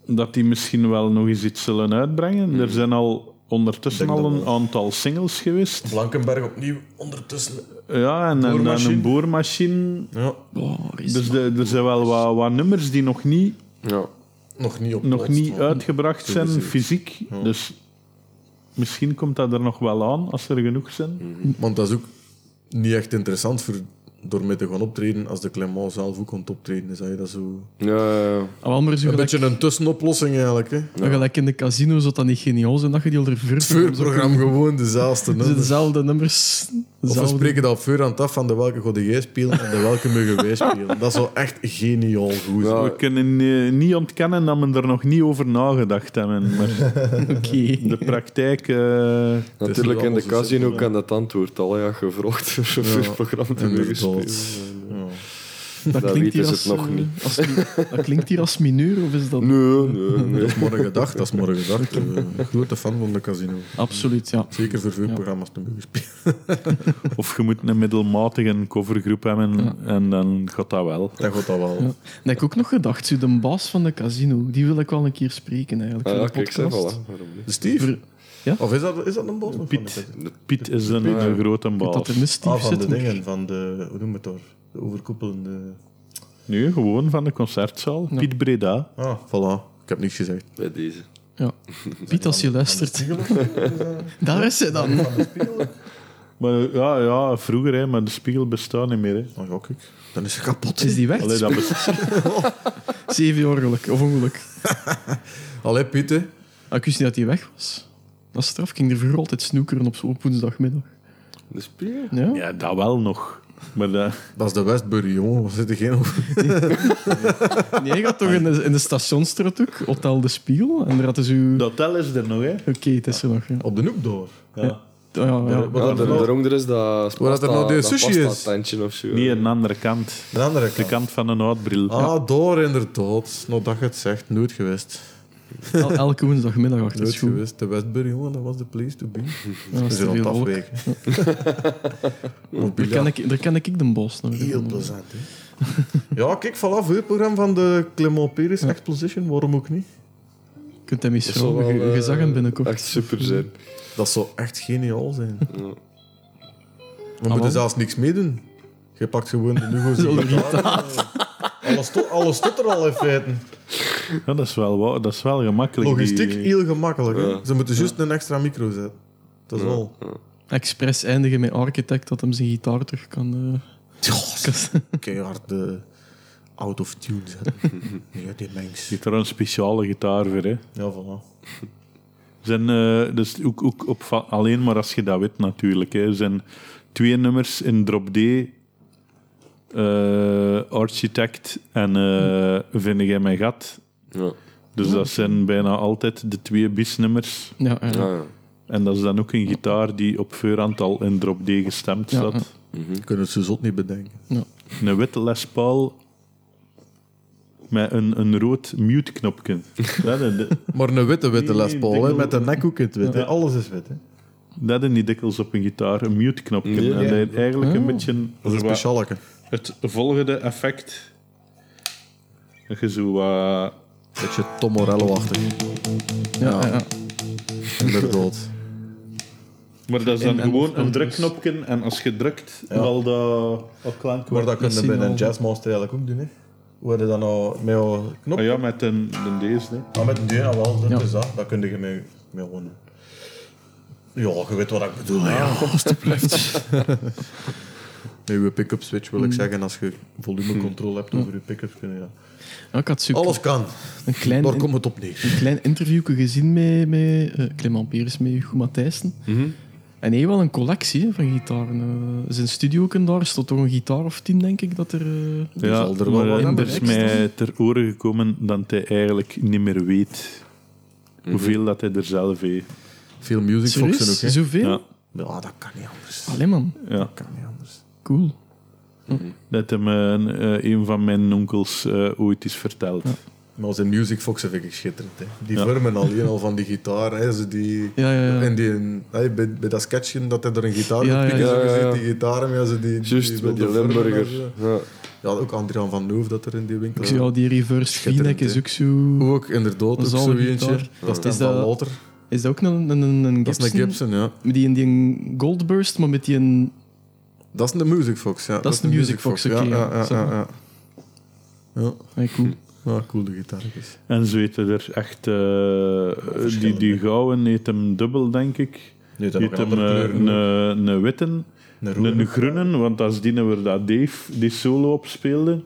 S7: dat die misschien wel nog eens iets zullen uitbrengen. Er zijn al ondertussen
S8: Denk
S7: al
S8: dat
S7: een aantal singles geweest.
S8: Blankenberg opnieuw ondertussen.
S7: Ja, en, en- en
S8: Boormachine.
S7: een boormachine.
S8: Ja,
S7: Dus de- er zijn wel wat, wat nummers die nog niet,
S2: Ja.
S8: nog niet op
S7: nog
S8: plaats,
S7: niet
S8: maar-
S7: uitgebracht zijn,
S8: Geblesseerd.
S7: fysiek. Dus misschien komt dat er nog wel aan, als er genoeg zijn.
S8: Want dat is ook niet echt interessant voor, door mee te gaan optreden. Als de Clement zelf ook komt optreden, dan zou je dat zo.
S2: Ja, ja, ja.
S1: Ah, wel, maar zo
S8: Een
S1: gelijk,
S8: beetje een tussenoplossing eigenlijk. Hè.
S1: maar gelijk in de casino zou dat niet geniaal zijn dat je die al
S8: Het
S1: vervult.
S8: voorprogramma gewoon dezelfde.
S1: Het zijn
S8: nummers.
S1: dezelfde nummers.
S8: Of we
S1: dezelfde-
S8: spreken dat op voorhand af van de welke god jij spelen en de welke mogen wij spelen. Dat zou echt geniaal goed zijn.
S2: Ja.
S7: We kunnen eh, niet ontkennen dat men er nog niet over nagedacht hebben. Maar
S1: Oké.
S7: de praktijk... eh,
S2: Natuurlijk,
S8: niet
S2: in de
S8: allemaal zo
S2: casino
S8: simpel,
S2: kan dat antwoord al. Ja, gevraagd voor
S8: Ja,
S2: een programma te mogen spelen.
S8: Inderdaad.
S1: Dat klinkt hier
S2: weten ze
S1: als,
S2: dus het nog
S1: eh,
S2: niet.
S1: als- dat klinkt hier als mineur, of is dat...
S2: Nee, nee, nee.
S8: Morgen dag, dat is morgen dag. Eh, grote fan van de casino.
S1: Absoluut, ja.
S8: Zeker voor veel programma's te mogen spelen.
S7: Of je moet een middelmatige covergroep hebben en dan gaat dat wel.
S8: Dat gaat dat wel.
S1: Ja. Dat heb ik ook nog gedacht. Zo, de baas van de casino, die wil ik wel een keer spreken, eigenlijk.
S2: Ah,
S1: voor
S2: ja,
S1: de
S2: kijk, zeg
S1: podcast.
S2: voilà. Waarom niet?
S8: De Steve?
S1: Voor- ja?
S8: Of is dat, is dat een bos?
S7: Piet, Piet is een eh, grote
S1: Dat
S7: baas.
S1: er een stief
S8: Ah, van
S1: zit,
S8: de
S1: maar-
S8: dingen, van de, hoe noemen we het daar? De overkoepelende...
S7: Nu, gewoon van de concertzaal. Piet Breda.
S8: Ah, voilà. Ik heb niks gezegd.
S2: Bij deze.
S1: Ja. Piet, als je luistert. Daar is ze dan.
S7: Maar eh, ja, ja vroeger, hè, maar de spiegel bestaat niet meer. Hè.
S8: Oh ja, kijk. Dan is ze kapot.
S1: Is die weg?
S7: Allee, dat best-
S1: Zeven jaar geluk, of ongeluk.
S8: Allee, Piet, hè.
S1: Ah, ik wist niet dat hij weg was. Dat is straf. Ik ging er vroeger altijd snoekeren op, op woensdagmiddag.
S2: De spiegel?
S1: Ja?
S7: ja, dat wel nog. Maar eh, dat,
S8: Dat is de Westbury, jongen. We zitten geen over.
S1: Nee, je gaat toch in de, in de stationsstraat ook, Hotel de Spiegel. En daar hadden ze... uw-
S7: dat hotel is er nog, hè?
S1: Oké, het is er nog. Ja.
S8: Op de noek door.
S7: Ja.
S1: Ah, ja, ja.
S8: Wat
S2: Ja,
S8: dan
S2: daar-
S8: wel?
S2: daaronder is dat...
S8: Waar dat er nou de sushi is.
S2: tandje of zo.
S7: Niet aan de andere kant.
S8: Een andere
S7: De
S8: kant.
S7: kant van een oudbril.
S8: Ah, door inderdaad. Nou, dat je het zegt. Nooit geweest.
S1: El- elke woensdagmiddag achter
S8: Nooit
S1: school. Ja,
S8: geweest. De Westbury, jongen, dat was de place to be.
S1: dat
S8: We
S1: is te
S8: zijn aan het
S1: veel volk.
S8: afwijken.
S1: Daar ken, ik, daar ken ik de bos nog.
S8: Heel plezant, hè. ja, kijk, voilà, voor het programma van de Clement Peris, Exposition, waarom ook niet?
S1: Ik kunt hem eens
S2: Dat zal
S1: vragen.
S2: wel,
S1: Je-
S2: eh,
S1: Je zag hem binnenkort.
S2: Echt super zijn.
S8: Dat zou echt geniaal zijn.
S2: Ja.
S8: We moeten zelfs niks meedoen. Je pakt gewoon de Hugo's
S1: Zo
S8: die Alles, to- alles tot er al in feite.
S7: Ja, dat is wel, wa- dat is wel gemakkelijk.
S8: Logistiek
S7: die-
S8: heel gemakkelijk. hè.
S2: Ja.
S8: Ze moeten juist een extra micro zetten. Dat is wel.
S1: Express eindigen met Architect, dat hem zijn gitaar terug kan... eh, kan-
S8: Keihard eh, out of tune zetten. ja, die mengs.
S7: Je hebt er een speciale gitaar voor. Hè.
S8: Ja, voilà.
S7: Zijn, eh, dus ook, ook op, va- alleen maar als je dat weet natuurlijk. Hè. Er zijn twee nummers in Drop D. eh, Architect en eh Vind jij mijn gat.
S2: Ja.
S7: Dus dat zijn bijna altijd de twee bisnummers.
S1: ja, ja.
S2: Ah, ja.
S7: En dat is dan ook een gitaar die op voorhand al in Drop D gestemd
S1: Ja,
S7: staat.
S1: ja.
S8: Je kunt het zo zot niet bedenken.
S7: Een witte lespaal met een, een rood mute-knopje. dat, dat,
S8: Maar een witte witte
S7: Nee,
S8: lespaal, hè,
S7: ik
S8: met
S7: denk-
S8: een nekhoek in het wit. hè. Alles is wit. Hè.
S7: dat is niet dikwijls op een gitaar, een mute-knopje.
S2: Nee.
S7: en dat is eigenlijk een
S1: Oh.
S7: beetje
S8: Dat is een
S7: wat-
S8: specialeke.
S7: het volgende effect. Dat je zo eh, wat...
S8: Beetje Tom Morello-achtig.
S1: Ja, ja, ja.
S8: Inderdaad.
S7: Maar dat is dan
S1: In- en
S7: gewoon
S1: afstand
S7: een
S1: dus.
S7: drukknopje en als je drukt, wel dat... Al klank
S8: Maar dat kunnen
S1: zien
S8: we bij een
S1: al.
S8: jazzmaster eigenlijk ook doen. Hè. Hoe hadden dan nou met jouw knop?
S7: Ah ja, met een, een deze. hè.
S8: Ah, met een deur wel, dat
S1: Ja.
S8: is dat. Dat kun je mee, mee gewoon... Ja, je weet wat ik bedoel. hè, Ah, Ja, alstublieft. Met je pick-up switch wil ik zeggen, als je volumecontrole hebt over je pick-ups, kun je dat.
S1: Ja, ik had super,
S8: Hmm. Alles kan.
S1: een klein,
S8: Daar komt het op neer.
S1: een klein interview gezien met, met eh Clement Peres, met Hugo Matthijssen. En hij heeft wel een collectie hè, van gitaren. eh. zijn studio ook in daar stond toch een gitaar of tien, denk ik, dat er... eh,
S7: Ja,
S8: zal er wel
S7: maar
S8: wat
S7: eh,
S8: aan
S7: er is
S1: bereikt
S7: mij ter oren gekomen dat hij eigenlijk niet meer weet
S8: Mhm.
S7: hoeveel dat hij er zelf heeft.
S8: Veel music foxen ook,
S1: Serieus?
S8: hè.
S1: Zoveel?
S7: Ja.
S8: Ja, dat kan niet anders.
S1: Allee, man.
S7: Ja.
S8: Dat kan niet anders.
S1: Cool.
S7: Dat hem een, eh, een van mijn onkels eh, ooit is verteld.
S8: Maar zijn music foxen vind ik schitterend. Hè. Die
S7: Ja.
S8: vormen alleen al van die gitaar. Hè. Ze die,
S1: Ja, ja, ja.
S8: En die, hè, bij, bij dat sketchje dat hij er een gitaar
S1: Ja,
S8: op pikt,
S1: ja,
S2: ja.
S8: zo
S2: Ja, ja,
S8: gezien,
S2: ja.
S8: die gitaar mee. Ze die,
S2: Juist, met
S8: wilde
S2: die
S8: vormen en
S2: Limburger.
S8: zo.
S2: Ja.
S8: Ja, ook Andriaan van Noof dat er in die winkel
S1: Ik zie al die reverse
S8: eh, Schitterend,
S1: V-neck is
S8: hè.
S1: ook zo...
S8: Ook inderdaad, ook
S1: Een
S8: zo
S1: zalige
S8: eentje.
S1: gitaar.
S8: Dat is
S1: Is
S8: dan
S1: dat-
S8: later.
S1: Is dat ook een, een, een, een
S8: Dat is een Gibson, ja.
S1: Met die, die een Goldburst, maar met die een...
S8: Dat is een Music Fox, ja.
S1: is een Music Fox,
S8: ja,
S1: oké,
S8: ja,
S1: ja.
S8: ja,
S1: Zo.
S8: ja, ja. Ja,
S1: Hey, cool.
S8: ja, coole gitaartjes.
S7: En ze weten er echt... eh, die, die gouden heet hem dubbel, denk ik.
S8: Nu
S7: Je hebt hem eh,
S1: eh,
S7: een, een, een witte, een, groene, want dat is die waar dat Dave die solo op speelde.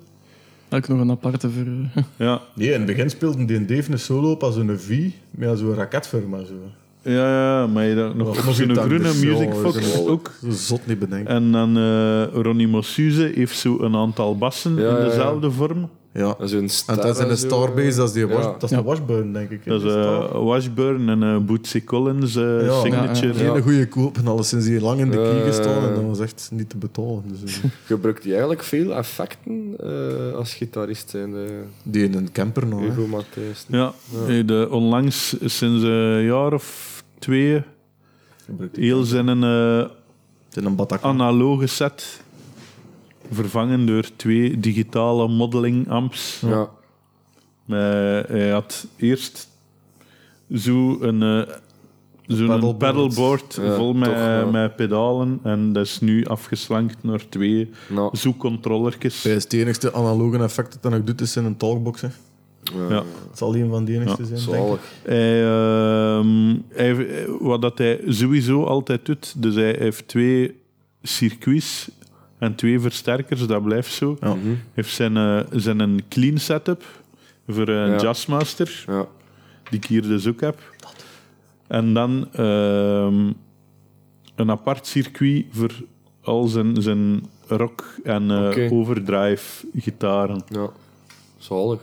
S1: Ook nog een aparte voor... eh,
S7: Ja,
S8: Nee, in het begin speelde die in Dave een solo op als een V met zo'n raketfirma. Zo.
S7: ja, ja maar je had nog,
S8: Of
S7: nog een
S8: Zutander,
S7: groene
S8: zo,
S7: Music Fox
S8: zo.
S7: ook.
S8: Zo Zot niet bedenken.
S7: En dan eh Ronnie Mossuze heeft zo een aantal bassen
S2: Ja, ja,
S7: in
S2: ja.
S7: dezelfde vorm.
S8: Ja.
S2: En zo'n
S8: En
S2: star.
S8: dat is een
S2: zo, eh,
S8: Starbase, dat is, die
S2: Ja.
S8: wash, dat is
S1: Ja.
S8: de Washburn, denk ik. hè,
S7: Dat is
S8: die
S7: eh,
S8: Star.
S7: Washburn en eh Bootsy Collins eh,
S8: Ja.
S7: signature.
S1: Ja,
S8: Geen
S2: Ja. Eh,
S8: goede koop en alles sinds hier lang in de
S2: Ja,
S8: kie gestaan.
S2: ja,
S8: En
S2: ja.
S8: dat was echt niet te betalen. Dus, eh,
S2: Gebruikt hij eigenlijk veel effecten eh, als gitarist zijn, eh,
S8: die in een camper nog. hè.
S2: Hugo Matthijs.
S7: Ja, eh, de, onlangs sinds een jaar of twee
S8: Gebruikt die
S7: heel zijn een eh,
S8: in een Bataclan.
S7: analoge set vervangen door twee digitale modeling amps.
S2: Ja.
S7: Eh, hij had eerst zo een, eh, zo'n
S8: Paddleboard.
S7: paddleboard,
S2: Ja,
S7: vol met,
S2: toch, ja.
S7: met pedalen en dat is nu afgeslankt naar twee
S2: Nou,
S7: zoekcontrollertjes.
S8: Dat is het enigste analoge effect dat dan ook doet, is in een talkbox. Hè.
S7: Ja.
S8: Het zal een van de enigste zijn, denk ik.
S2: zalig.
S7: Hij, ehm, hij- wat dat hij sowieso altijd doet, dus hij heeft twee circuits en twee versterkers, dat blijft zo.
S8: Ja.
S2: Mhm.
S7: Hij heeft zijn, eh, zijn een clean setup voor een
S2: Ja.
S7: Jazzmaster,
S2: Ja.
S7: die ik hier dus ook heb. En dan ehm, een apart circuit voor al zijn, zijn rock- en eh,
S2: Oké.
S7: overdrive-gitaren.
S2: ja. Zalig.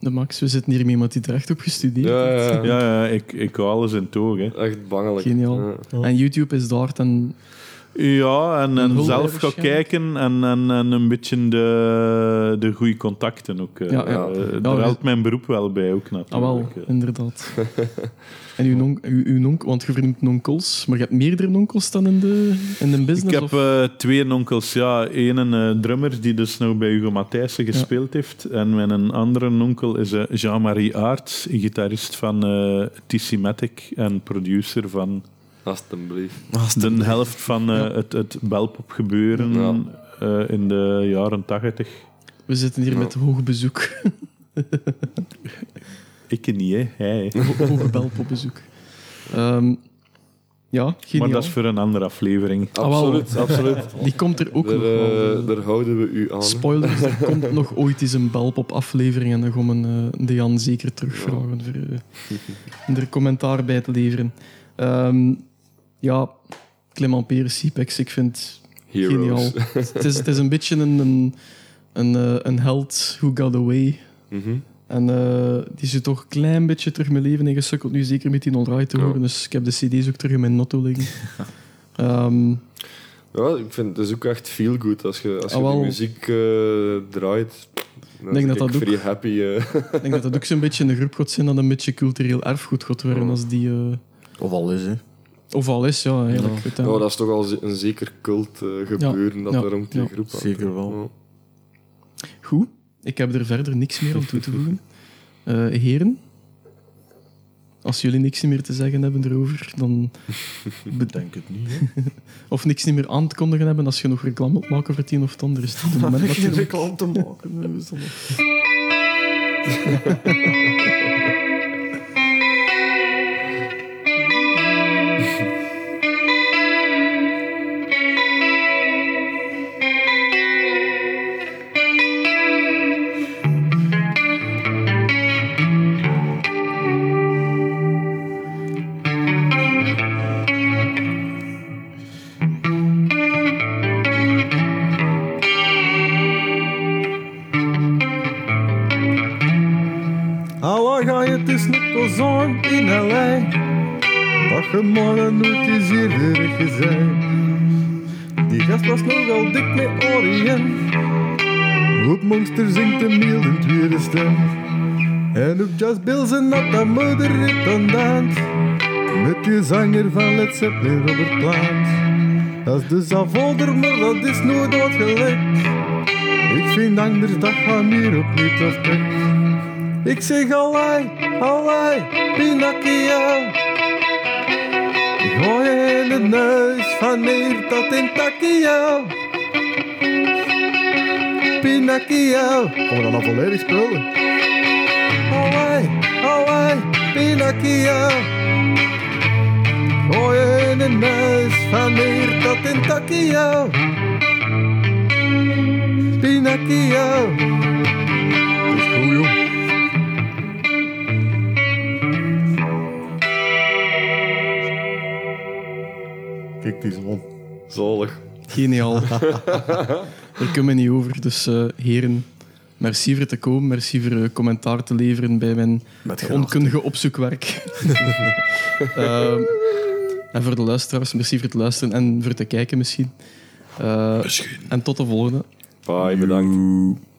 S1: De Max, we zitten hier met iemand die er echt op gestudeerd
S2: Ja,
S1: heeft.
S2: ja, ja.
S7: Ja, ja, ik, ik hou alles in toog. Hè.
S2: Echt bangelijk.
S1: Geniaal.
S2: Ja.
S1: En YouTube is daar dan
S7: Ja, en, en
S1: hulde
S7: zelf gaan
S1: waarschijnlijk.
S7: kijken en, en, en een beetje de, de goede contacten ook. eh.
S1: Ja, ja.
S7: Eh,
S1: Ja,
S7: daar
S1: we-
S7: helpt mijn beroep wel bij ook natuurlijk.
S1: Ah, wel,
S7: eh.
S1: inderdaad. en uw, non, uw, uw nonk, want je verdient nonkels, maar je hebt meerdere nonkels dan in de, in de business?
S7: Ik heb
S1: of-
S7: eh, twee nonkels. Ja, Eén een eh, drummer die dus nou bij Hugo Matthijssen gespeeld heeft. En mijn andere nonkel is eh, Jean-Marie Aerts, gitarist van eh Tissimatic en producer van
S2: Alsjeblieft.
S7: de helft van eh, het, het belpop gebeuren
S2: Ja.
S7: in de jaren tachtig.
S1: We zitten hier met hoog bezoek.
S7: Ik niet, hè. Hij.
S1: Ho- Hoge belp op bezoek. Ehm, ja,
S7: Maar
S1: geniaal.
S7: dat is voor een andere aflevering.
S1: Ah, wel.
S2: Absoluut, absoluut.
S1: Die komt er ook
S2: Daar,
S1: nog wel.
S2: eh, daar houden we u aan.
S1: Spoilers, er komt nog ooit eens een belp op aflevering en dan gaan we eh, de Jan zeker terugvragen voor, eh, om er commentaar bij te leveren. Ehm, ja, Clement Peres, Sipex, ik vind het geniaal.
S2: Heroes.
S1: het, is, het is een beetje een, een, een, eh, een held who got away.
S2: Mhm.
S1: En eh, die zit toch een klein beetje terug mijn leven ingesukkeld, nu zeker met die All-Right te
S2: Ja.
S1: horen. Dus ik heb de cd's ook terug in mijn notto liggen. Ehm,
S2: Ja, ik vind het is ook echt feel good als je, als je
S1: Ah, wel.
S2: die muziek eh, draait. Dan
S1: denk
S2: ben
S1: dat
S2: ik
S1: dat ook-
S2: Free happy. eh.
S1: ik denk dat dat ook zo'n beetje een groep gaat zijn dat een beetje cultureel erfgoed gaat worden. Als die, eh,
S8: Of al is, hè.
S1: of al is, ja, eigenlijk.
S2: Nou,
S1: uiteindelijk.
S2: dat is toch al ze- een zeker cult eh, gebeuren dat
S1: ja,
S2: er rond die
S1: ja.
S2: groep hangt.
S8: Zeker wel.
S2: Ja.
S1: Goed, ik heb er verder niks meer aan toe te voegen. Eh, heren, als jullie niks meer te zeggen hebben erover, dan...
S8: Ik denk het niet. hè.
S1: of niks meer aan te kondigen hebben als je nog reclame moet maken voor het een of het ander, is het het moment
S8: Geen
S1: natuurlijk.
S8: reclame te maken. hè, we zullen- Alla ga je het is net als zon in L.A. Dat je morgen nooit is hier weer gezien. Die gast was nogal dik met Orient. Op Monster zingt een mild in tweede stem. En op Jazz Bill zijn dat de moeder ript aan dans. Met die zanger van Led Zeppelin Robert Plant. Dat is dus afvolder, maar dat is nooit uitgelekt. Ik vind anders dat gaan hier op niet of tek. Ik zeg alai, alai, pinakia. Gooi in de neus van hier tot in takia. Pinakia. Gaan we dan al volledig spelen? Alai, alai, pinakia. Gooi in de neus van hier tot in takia. Pinakia. Dat is goed, joh. Kijk, die zwom.
S2: Zalig.
S1: Geniaal. Daar kunnen we niet over. Dus eh, heren, merci voor te komen. Merci voor eh, commentaar te leveren bij mijn onkundige opzoekwerk. Ehm, en voor de luisteraars, merci voor het luisteren en voor te kijken misschien. Eh, En tot de volgende.
S2: Bye, bedankt.